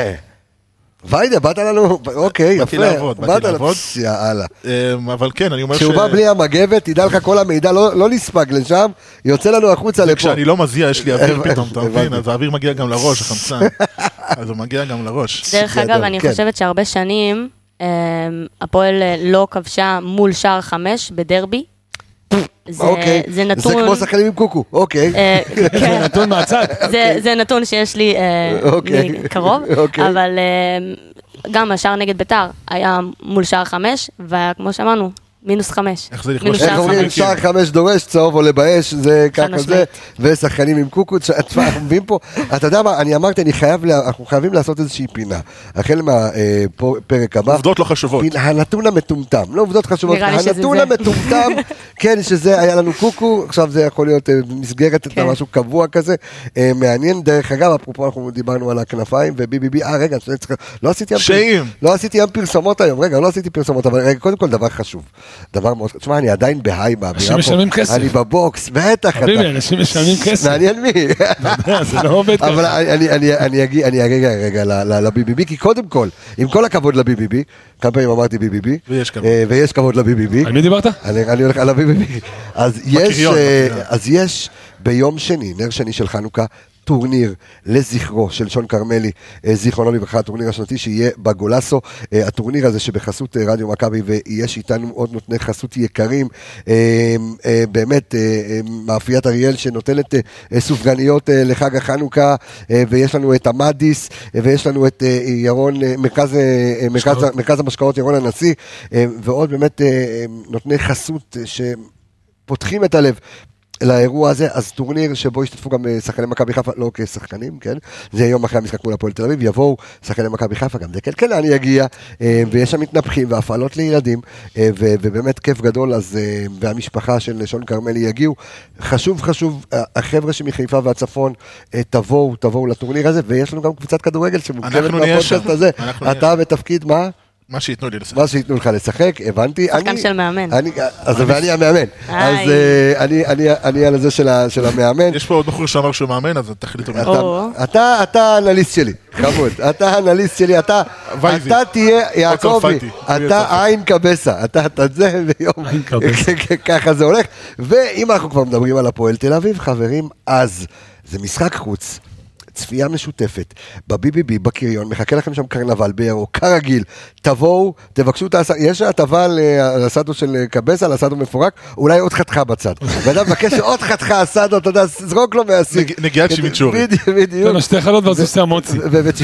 S1: ויידה, באת לנו, אוקיי, יפה.
S3: באתי לעבוד, באתי
S1: באת לנו-
S3: לעבוד.
S1: פס, יאללה.
S3: אמ, אבל כן, אני אומר ש...
S1: כשהוא בא בלי המגבת, תדע לך כל המידע לא לא נספג לשם, יוצא לנו החוצה לפה.
S3: כשאני לא מזיע, יש לי אוויר
S1: הבנתי.
S3: פתאום, אתה מבין?
S1: הבנתי.
S3: אז האוויר מגיע גם לראש, החמצן. אז הוא מגיע גם לראש.
S6: דרך
S1: גדול,
S6: אגב, אני
S1: כן.
S6: חושבת שהרבה שנים אה, הפועל אה, לא כבשה מול שער חמש בדרבי. זה-
S1: אוקיי.
S6: זה
S1: זה
S6: נתון...
S1: כמו שחקנים עם קוקו, אוקיי.
S6: אה, כן.
S5: נתון מהצד.
S6: זה, זה נתון שיש לי אה,
S1: אוקיי.
S6: קרוב,
S1: אוקיי.
S6: אבל אה, גם השער נגד ביתר היה מול שער חמש, וכמו שאמרנו, מינוס חמש.
S3: איך זה לכבוש?
S6: מינוס
S3: איך
S1: איך
S6: שער
S1: אומרים,
S6: חמש.
S3: חמש.
S1: שער חמש דורש, צהוב עולה באש, זה
S6: כאילו חד
S1: ככה זה, ושחקנים עם קוקו, תשמע, תשמע, אנחנו מביאים פה, אתה יודע מה, אני אמרתי, אני חייב, לה- אנחנו חייבים לעשות איזושהי פינה, החל מהפרק הבא.
S3: עובדות לא חשובות.
S1: פינה- הנתון המטומטם, לא עובדות חשובות,
S6: נראה לי שזה
S1: הנתון
S6: זה.
S1: המטומטם, כן, שזה היה לנו קוקו, עכשיו זה יכול להיות אה, מסגרת, אתה יודע,
S6: כן.
S1: משהו קבוע כזה, אה, מעניין, דרך אגב, אפרופו אנחנו דיברנו על הכנפיים ובי-בי-בי, אה רגע, שאני צריך- לא עשיתי ים פר-
S3: שאים.
S1: לא עשיתי ים פרסומות היום, רגע, לא עשיתי פרסומות, אבל רגע, קודם כל דבר חשוב, דבר מאוד, תשמע, אני עדיין בהיי באווירה פה,
S5: אנשים משלמים כסף.
S1: אני בבוקס, בטח, אתה-
S5: חביבי, אנשים משלמים כסף,
S1: מעניין מי,
S5: אתה יודע, זה לא עובד ככה.
S1: אבל אני- אני- אני- אני אגיע- אני אגיע רגע ל- ל- לבי-בי-בי, כי קודם כל, עם כל הכבוד לבי-בי-בי, כמה פעמים אמרתי בי-בי-בי,
S3: ויש כבוד.
S1: אה, ויש כבוד לבי-בי-בי,
S5: על מי דיברת?
S1: אני אני הולך על ה-BBB. אז יש,
S3: בקריון,
S1: אה,
S3: בקריון.
S1: אז יש ביום שני, נר שני של חנוכה, טורניר לזכרו של שון כרמלי, אה, זיכרונו לברכה, הטורניר השנתי שיהיה בגולסו. אה, הטורניר הזה שבחסות אה, רדיו מכבי, ויש איתנו עוד נותני חסות יקרים, אה, אה, באמת, אה, אה, מאפיית אריאל שנותנת אה, אה, סופגניות אה, לחג החנוכה, אה, ויש לנו את המדיס, אה, ויש לנו את אה, ירון, אה, מרכז, אה, אה, מרכז,
S5: משקאות.
S1: מרכז המשקאות ירון הנשיא, אה, ועוד באמת אה, אה, נותני חסות אה, שפותחים את הלב. לאירוע הזה, אז טורניר שבו ישתתפו גם אה, שחקני מכבי חיפה, לא כשחקנים, כן? זה יום אחרי המשחק מול הפועל תל אביב, יבואו שחקני מכבי חיפה, גם זה כלכלן יגיע, אה, ויש שם מתנפחים והפעלות לילדים, אה, ו- ובאמת כיף גדול, אז, אה, והמשפחה של שון כרמלי יגיעו. חשוב, חשוב, אה, החבר'ה שמחיפה והצפון, אה, תבואו, תבואו לטורניר הזה, ויש לנו גם קבוצת כדורגל שמוקמת
S3: אנחנו נהיה
S1: בפודקאסט
S3: שם.
S1: הזה.
S3: אנחנו נהיה
S1: אתה בתפקיד מה?
S3: מה שייתנו לי לשחק.
S1: מה שייתנו לך לשחק, הבנתי.
S6: שחקן
S1: אני-
S6: של מאמן.
S1: אני, אז ואני המאמן. אז
S6: היי.
S1: אה, אני- אני- אני על הזה של ה- של המאמן.
S3: יש פה עוד בחור שאמר שהוא מאמן, אז תחליטו. מי.
S1: אתה-
S6: או.
S1: אתה, אתה האנליסט שלי, חמוד, אתה האנליסט שלי, אתה,
S3: וייבי.
S1: אתה תהיה, יעקבי,
S3: צרפתי. הוא יהיה
S1: אתה
S3: צרפתי.
S1: עין קבסה, אתה, אתה זה ביום,
S5: עין קבסה.
S1: ככה זה הולך, ואם אנחנו כבר מדברים על הפועל תל אביב, חברים, אז זה משחק חוץ. צפייה משותפת, בביביבי, בקריון, מחכה לכם שם קרנבל בירוק, כרגיל, תבואו, תבקשו את הסעדו, יש הטבה על, אה, על הסעדו של אה, קבסה, על הסעדו מפורק, אולי עוד חתיכה בצד. ואתה מבקש עוד חתיכה הסעדו, אתה יודע, זרוק לו מהסיג.
S3: נג- נגיעת שימיצ'ורי.
S1: בדיוק,
S5: תן לו
S1: בדיוק.
S5: שתי חלות ואז הוא עושה המוצי.
S1: באמת ש-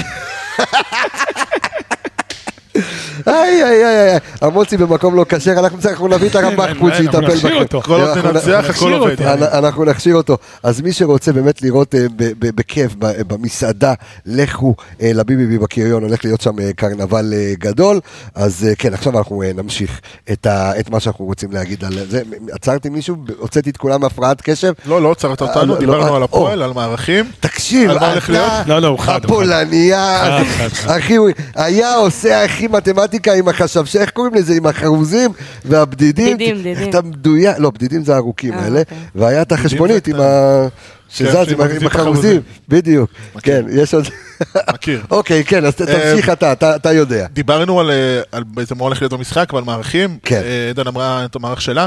S1: איי, איי, איי, איי, המוצי במקום לא כשר, אנחנו צריך- אנחנו נביא את הרב
S5: אין,
S1: מחפוץ
S5: אין, אנחנו
S1: שיטפל
S5: נכשיר
S1: בכם.
S5: אותו.
S3: כל עוד
S1: אנחנו-
S3: ננצח, הכל
S5: נשאיר
S3: עובד.
S5: אותה.
S1: אנ- אנחנו נכשיר אותו. אז מי שרוצה באמת לראות אה, ב- ב- בכיף, ב- במסעדה, לכו אה, לביביבי בקריון, הולך להיות שם אה, קרנבל אה, גדול. אז אה, כן, עכשיו אנחנו אה, נמשיך את ה- את מה שאנחנו רוצים להגיד על זה. מ- עצרתי מישהו, ב- הוצאתי את כולם מהפרעת קשב.
S3: לא, לא עצרת
S1: אה, לא,
S3: אותנו,
S1: לא,
S3: דיברנו על
S1: אה,
S3: הפועל, על מערכים.
S1: תקשיב,
S3: על מה הולך להיות?
S1: אתה
S5: לא, לא, הוא חד, הוא חד.
S1: הפולניה,
S5: חד, חד, חד.
S1: אחי, הוא היה עושה הכי מתמטיקה עם החשבש, איך קוראים לזה? עם החרוזים והבדידים.
S6: בדידים, בדידים.
S1: אתה מדויק, לא, בדידים זה הארוכים
S6: אה,
S1: האלה,
S6: אוקיי.
S1: והיה את החשבונית
S3: זה
S1: עם ה... שזז
S3: כן,
S1: עם ה- עם
S3: שמזיז את
S1: החרוזים,
S3: החרוזים.
S1: בדיוק, כן, יש עוד...
S3: מכיר.
S1: אוקיי, כן, אז ת-
S3: אה,
S1: תמשיך אתה, אתה- אתה יודע.
S3: דיברנו על, אה, על בעצם מה הולך להיות במשחק ועל מערכים.
S1: כן.
S3: אה, עדן אמרה את המערך שלה.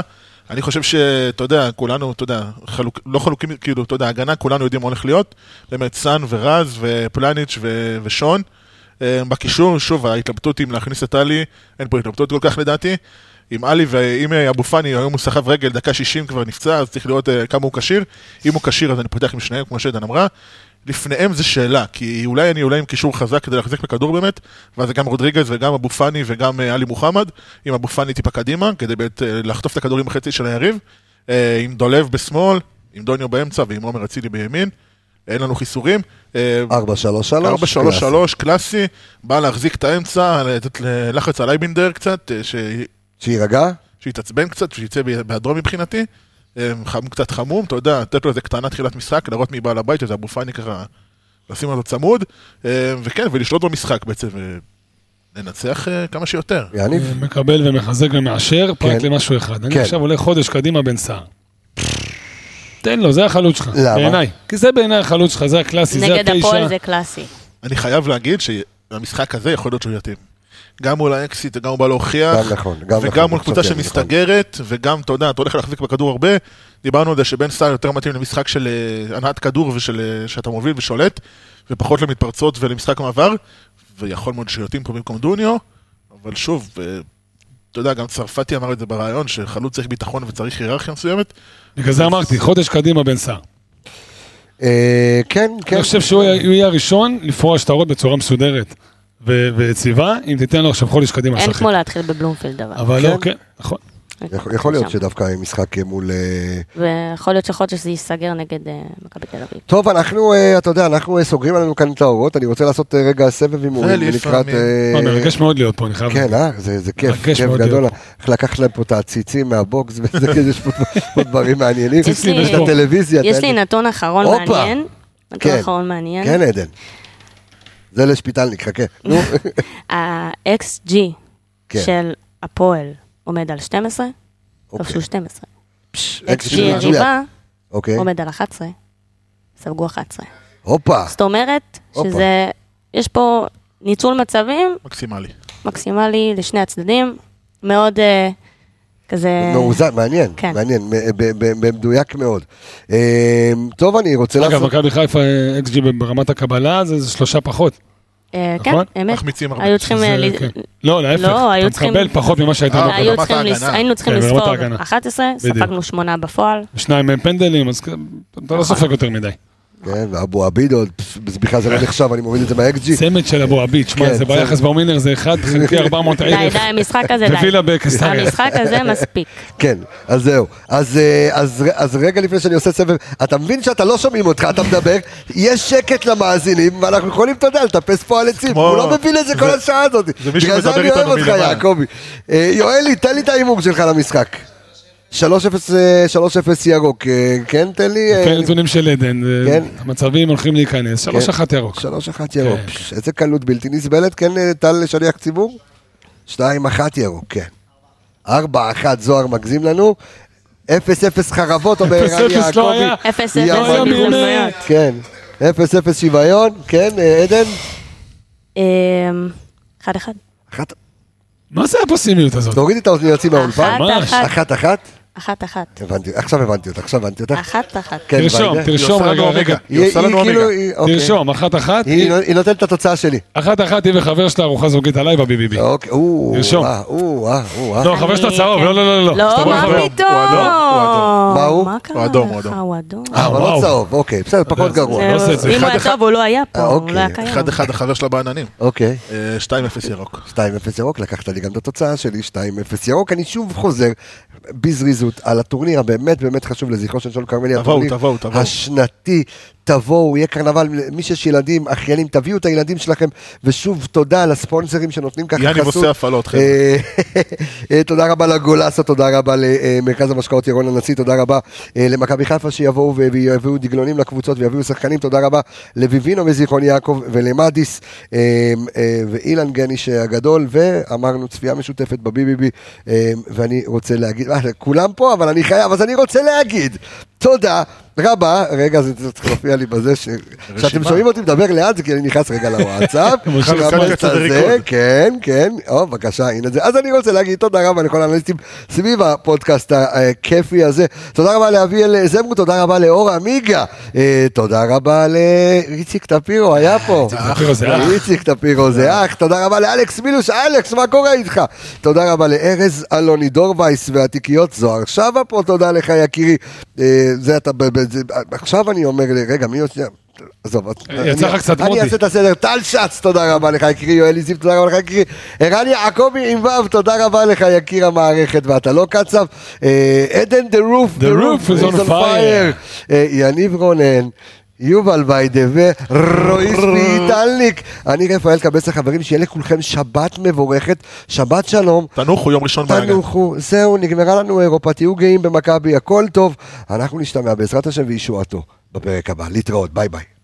S3: אני חושב שאתה יודע, כולנו, אתה יודע, חלוק, לא חלוקים, כאילו, אתה יודע, הגנה, כולנו יודעים מה הולך להיות. באמת, סאן ורז ופלניץ' ו- ושון. אה, בקישור, שוב, ההתלבטות אם להכניס את עלי, אין פה התלבטות כל כך לדעתי. עם עלי ואם אה, אבו פאני, היום הוא סחב רגל, דקה 60 כבר נפצע, אז צריך לראות אה, כמה הוא כשיר. אם הוא כשיר, אז אני פותח עם שניהם, כמו שעדן אמרה. לפניהם זה שאלה, כי אולי אני עולה עם קישור חזק כדי להחזיק בכדור באמת, ואז זה גם רודריגז וגם אבו פאני וגם אה, עלי מוחמד, עם אבו פאני טיפה קדימה, כדי באמת אה, לחטוף את הכדורים בחצי של היריב, אה, עם דולב בשמאל, עם דוניו באמצע ועם עומר אצילי בימין, אין לנו חיסורים. אה,
S1: 433.
S3: 4-3-3, קלאסי, בא להחזיק את האמצע, לתת לחץ על אייבינדר קצת, אה, ש-
S1: שיירגע?
S3: שיתעצבן קצת, שיצא בהיעדרו מבחינתי. אה, חמ- קצת חמום, אתה יודע, לתת לו איזה קטנה תחילת משחק, להראות מי בעל הבית, שזה אבו פאני ככה, לשים אותו צמוד, אה, וכן, ולשלוט במשחק בעצם, אה, לנצח אה, כמה שיותר.
S1: יניב?
S5: מקבל ומחזק ומאשר, פרט
S1: כן.
S5: למשהו אחד.
S1: כן.
S5: אני עכשיו עולה חודש קדימה בן סער. תן לו, זה החלוץ שלך.
S1: למה?
S5: בעיניי. כי זה בעיניי החלוץ שלך, זה הקלאסי, זה
S6: נגד הפועל
S5: התשע.
S6: זה קלאסי.
S3: אני חייב להגיד שהמשחק הזה יכול להיות שהוא יתאים. גם מול האקסיט, וגם הוא בא להוכיח,
S1: גם נכון, גם נכון.
S3: אה, וגם מול קבוצה
S1: עכשיו כן,
S3: שמסתגרת, וגם, אתה יודע, אתה הולך להחזיק בכדור הרבה. דיברנו על זה שבן סער יותר מתאים למשחק של אה, הנעת כדור ושל אה, שאתה מוביל ושולט, ופחות למתפרצות ולמשחק מעבר, ויכול מאוד שיוטים פה במקום דוניו, אבל שוב, אה, אתה יודע, גם צרפתי אמר את זה בריאיון, שחלוץ צריך ביטחון וצריך היררכיה מסוימת.
S5: בגלל זה אמרתי, חודש קדימה בן סער.
S1: אה, כן, כן.
S5: אני חושב שהוא יהיה- הוא יהיה הראשון לפרוע שטרות בצורה מסודרת ו- ויציבה, אם תיתן לו עכשיו חודש קדימה
S6: אין
S5: לשחק.
S6: כמו להתחיל בבלומפילד אבל. אוקיי.
S5: אבל לא, כן, נכון.
S1: יכול- יכול להיות
S6: שם.
S1: שדווקא משחק אה, מול... אה,
S6: ויכול להיות שחודש זה ייסגר נגד אה, מכבי תל אביב.
S1: טוב, אנחנו, אה, אתה יודע, אנחנו אה, סוגרים עלינו כאן את האורות, אני רוצה לעשות אה, רגע סבב הימורים
S3: ולפעמים.
S1: לקראת... אה,
S5: מה, מרגש מאוד להיות פה, אני חייב.
S1: כן, אה, זה זה כיף,
S5: מרגש
S1: כיף
S5: מאוד
S1: גדול.
S5: להיות.
S1: איך לקחת להם פה את העציצים מהבוקס, וזה כזה, יש פה- פה דברים מעניינים.
S6: יש לי-
S1: יש את הטלוויזיה.
S6: יש
S1: אתה-
S6: לי נתון אחרון
S1: כן, הופה.
S6: מעניין. נתון
S1: כן.
S6: אחרון מעניין.
S1: כן, עדן. זה לשפיטלניק, חכה. נו, אה,
S6: ה-XG
S1: כן.
S6: של הפועל עומד על 12,
S1: אוקיי.
S6: כבשו 12.
S1: פש,
S6: XG
S1: מצוין.
S6: יריבה
S1: אוקיי.
S6: עומד על 11, ספגו 11.
S1: הופה.
S6: זאת אומרת
S1: הופה.
S6: שזה, יש פה ניצול מצבים
S3: מקסימלי.
S6: מקסימלי לשני הצדדים, מאוד אה, כזה...
S1: מאוזן, מעניין,
S6: אה, כן.
S1: מעניין, מ- ב- ב- במדויק מאוד. אה, טוב, אני רוצה
S5: אגב,
S1: לעשות...
S5: מכבי חיפה, אה, XG ברמת הקבלה, זה זה שלושה פחות.
S6: אה, כן,
S5: נכון?
S6: אמת.
S3: מחמיצים הרבה.
S6: היו צריכים...
S5: זה-
S6: אה, ל-
S5: כן. לא, להפך.
S6: לא, היו
S5: אתה
S6: צריכים-
S5: מקבל פחות ממה שהיית
S3: אה,
S5: מקבל.
S6: היו
S3: ברמת
S6: צריכים לס-
S3: ההגנה.
S6: היינו צריכים
S5: כן, ברמת
S6: לספור
S5: ההגנה.
S6: 11,
S5: בדיוק.
S6: ספגנו 8 בפועל.
S5: שניים מהם פנדלים, אז כ-
S6: נכון.
S5: אתה לא סופג יותר מדי.
S1: כן, ואבו עביד עוד, פס, בכלל זה לא נחשב, אני מוריד את זה מהאקג'י.
S5: צמד של אבו עביד, שמע,
S1: כן,
S5: זה
S1: צמד.
S5: ביחס ברמינר, זה 1 חלקי 400
S6: די,
S5: אלף.
S6: די, המשחק הזה, די.
S5: ווילה בקיסריה.
S6: המשחק הזה מספיק.
S1: כן, אז זהו. אז, אה, אז, ר- אז רגע לפני שאני עושה סבב, אתה מבין שאתה לא שומעים אותך, אתה מדבר, יש שקט למאזינים, ואנחנו יכולים, אתה יודע, לטפס פה על עצים.
S3: כמו-
S1: הוא לא מבין את זה כל
S3: זה-
S1: השעה הזאת.
S3: זה מישהו
S1: בגלל זה
S3: מדבר
S1: אני אוהב
S3: איתנו
S1: אותך,
S3: מלמעלה.
S1: יעקבי. אה, יואלי, תן לי את ההימור שלך למשחק. 3-0 אה, 3-0 ירוק, אה, כן? תן לי... אה,
S5: לפי הנתונים של עדן, זה-
S1: כן.
S5: המצבים הולכים להיכנס, 3-1 ירוק.
S1: 3-1 כן. ירוק.
S5: כן.
S1: פש, איזה קלות בלתי נסבלת, כן, אה, טל שליח ציבור? 2-1 ירוק, כן. 4-1 זוהר מגזים לנו. 0-0 חרבות, אומר
S5: אפס
S1: ערן
S5: אפס לא היה.
S1: יעקבי.
S6: אפס
S1: יא
S6: אפס
S1: מדהים.
S6: בהזדמנויות.
S1: כן, 0-0 שוויון, כן, אה, עדן?
S6: אמ, אחד אחד.
S1: אחת,
S5: מה זה הפסימיות הזאת?
S1: תורידי את האוזניות יוצאים מהאולפן.
S5: מה?
S1: אחת
S6: אחת אחת.
S1: אחת?
S6: אחת אחת.
S1: הבנתי, עכשיו הבנתי אותך, עכשיו הבנתי אותך.
S6: אחת אחת.
S1: כן,
S5: תרשום,
S1: ויידה.
S5: תרשום
S3: היא עושה
S5: רגע,
S3: לנו
S5: רגע.
S3: אומגה. היא
S1: היא-
S3: עושה
S1: היא
S3: לנו
S1: כאילו-
S3: אומגה.
S1: היא- אוקיי.
S5: תרשום, אחת-אחת.
S1: היא היא נותנת את התוצאה שלי.
S5: אחת-אחת היא וחבר שלה ארוחה זוגית עליי בביביבי.
S1: אוקיי, או,
S5: תרשום.
S1: אה, או, אה, או, אה.
S5: לא, חבר שלה צהוב, לא, לא, לא, לא.
S6: לא,
S5: סתם
S6: מה
S5: חבר.
S3: אדום, הוא
S6: פתאום?
S3: אדום, הוא אדום.
S1: מה הוא?
S6: מה קרה
S3: הוא אדום, הוא
S6: לך?
S3: אדום.
S6: הוא אדום.
S5: אה,
S1: אבל
S5: וואו.
S1: לא צהוב, אוקיי, בסדר, פחות גרוע.
S5: לא עושה את זה.
S6: אם הוא היה
S3: אחד-אחד.
S6: טוב, הוא לא היה פה,
S1: אה,
S6: הוא
S1: אוקיי.
S6: לא היה קיים.
S3: אחד אחד החבר שלה בעננים.
S1: אוקיי.
S3: אה, 2-0 ירוק.
S1: 2-0 ירוק, לקחת לי גם את התוצאה שלי, 2-0 ירוק. אני שוב חוזר בזריזות על הטורניר הבאמת באמת חשוב לזכרו של שלום כרמלי.
S3: תבואו,
S1: הטורניר
S3: תבואו, תבואו.
S1: השנתי, תבואו, יהיה קרנבל, מי שיש ילדים, אחיינים, תביאו את הילדים שלכם, ושוב תודה לספונסרים שנותנים ככה
S3: יאניב
S1: חסות.
S3: עושה הפעלות, חבר'ה.
S1: אה, תודה רבה לגולסה, תודה רבה למרכז המשקאות ירון הנשיא, תודה רבה אה, למכבי חיפה שיבואו ו- ויביאו דגלונים לקבוצות ויביאו שחקנים, תודה רבה לביבינו מזיכרון יעקב ולמדיס אה, אה, ואילן גניש הגדול, ואמרנו צפייה משותפת בביביבי, אה, ואני רוצה להגיד, אה, כולם פה, אבל אני חייב, אז אני רוצה להגיד, תודה. רבה, רגע, זה זה צריך להופיע לי בזה, ש- כשאתם שומעים אותי מדבר לאט, זה כי אני נכנס רגע לוואטסאפ.
S3: מושכים
S1: רבה,
S3: כאן קצת
S1: זה,
S3: ריקוד.
S1: כן, כן, או, בבקשה, הנה זה. אז אני רוצה להגיד תודה רבה לכל האנליסטים סביב הפודקאסט הכיפי הזה. תודה רבה לאביאל זמרו, תודה רבה לאור עמיגה, אה, תודה רבה לאיציק טפירו, היה פה.
S5: אה, טפירו זה אח. אה.
S1: איציק טפירו זה אח, תודה רבה לאלכס מילוש, אלכס, מה קורה איתך? תודה רבה לארז אלוני דורווייס והתיקיות זוהר שבה פה, תודה לך יקירי. אה, זה אתה, ב- ב- זה- עכשיו אני אומר, לי, רגע, מי עוד שנייה? עזוב,
S5: יצא לך
S1: אני-
S5: קצת
S1: אני
S5: מודי.
S1: אעשה את הסדר. טל שץ, תודה רבה לך, יקירי. יואלי זיו, תודה רבה לך, יקירי. ערן יעקבי עם ו', תודה רבה לך, יקיר המערכת, ואתה לא קצב. אה, עדן, the roof,
S5: The roof is on fire.
S1: אה, יניב רונן. יובל ויידה ורויס פיטלניק. אני רפאל קבס החברים, שיהיה לכולכם שבת מבורכת, שבת שלום,
S3: תנוחו יום ראשון באגן.
S1: תנוחו, זהו, נגמרה לנו אירופה, תהיו גאים במכבי, הכל טוב. אנחנו נשתמע בעזרת השם וישועתו בפרק הבא. להתראות, ביי ביי.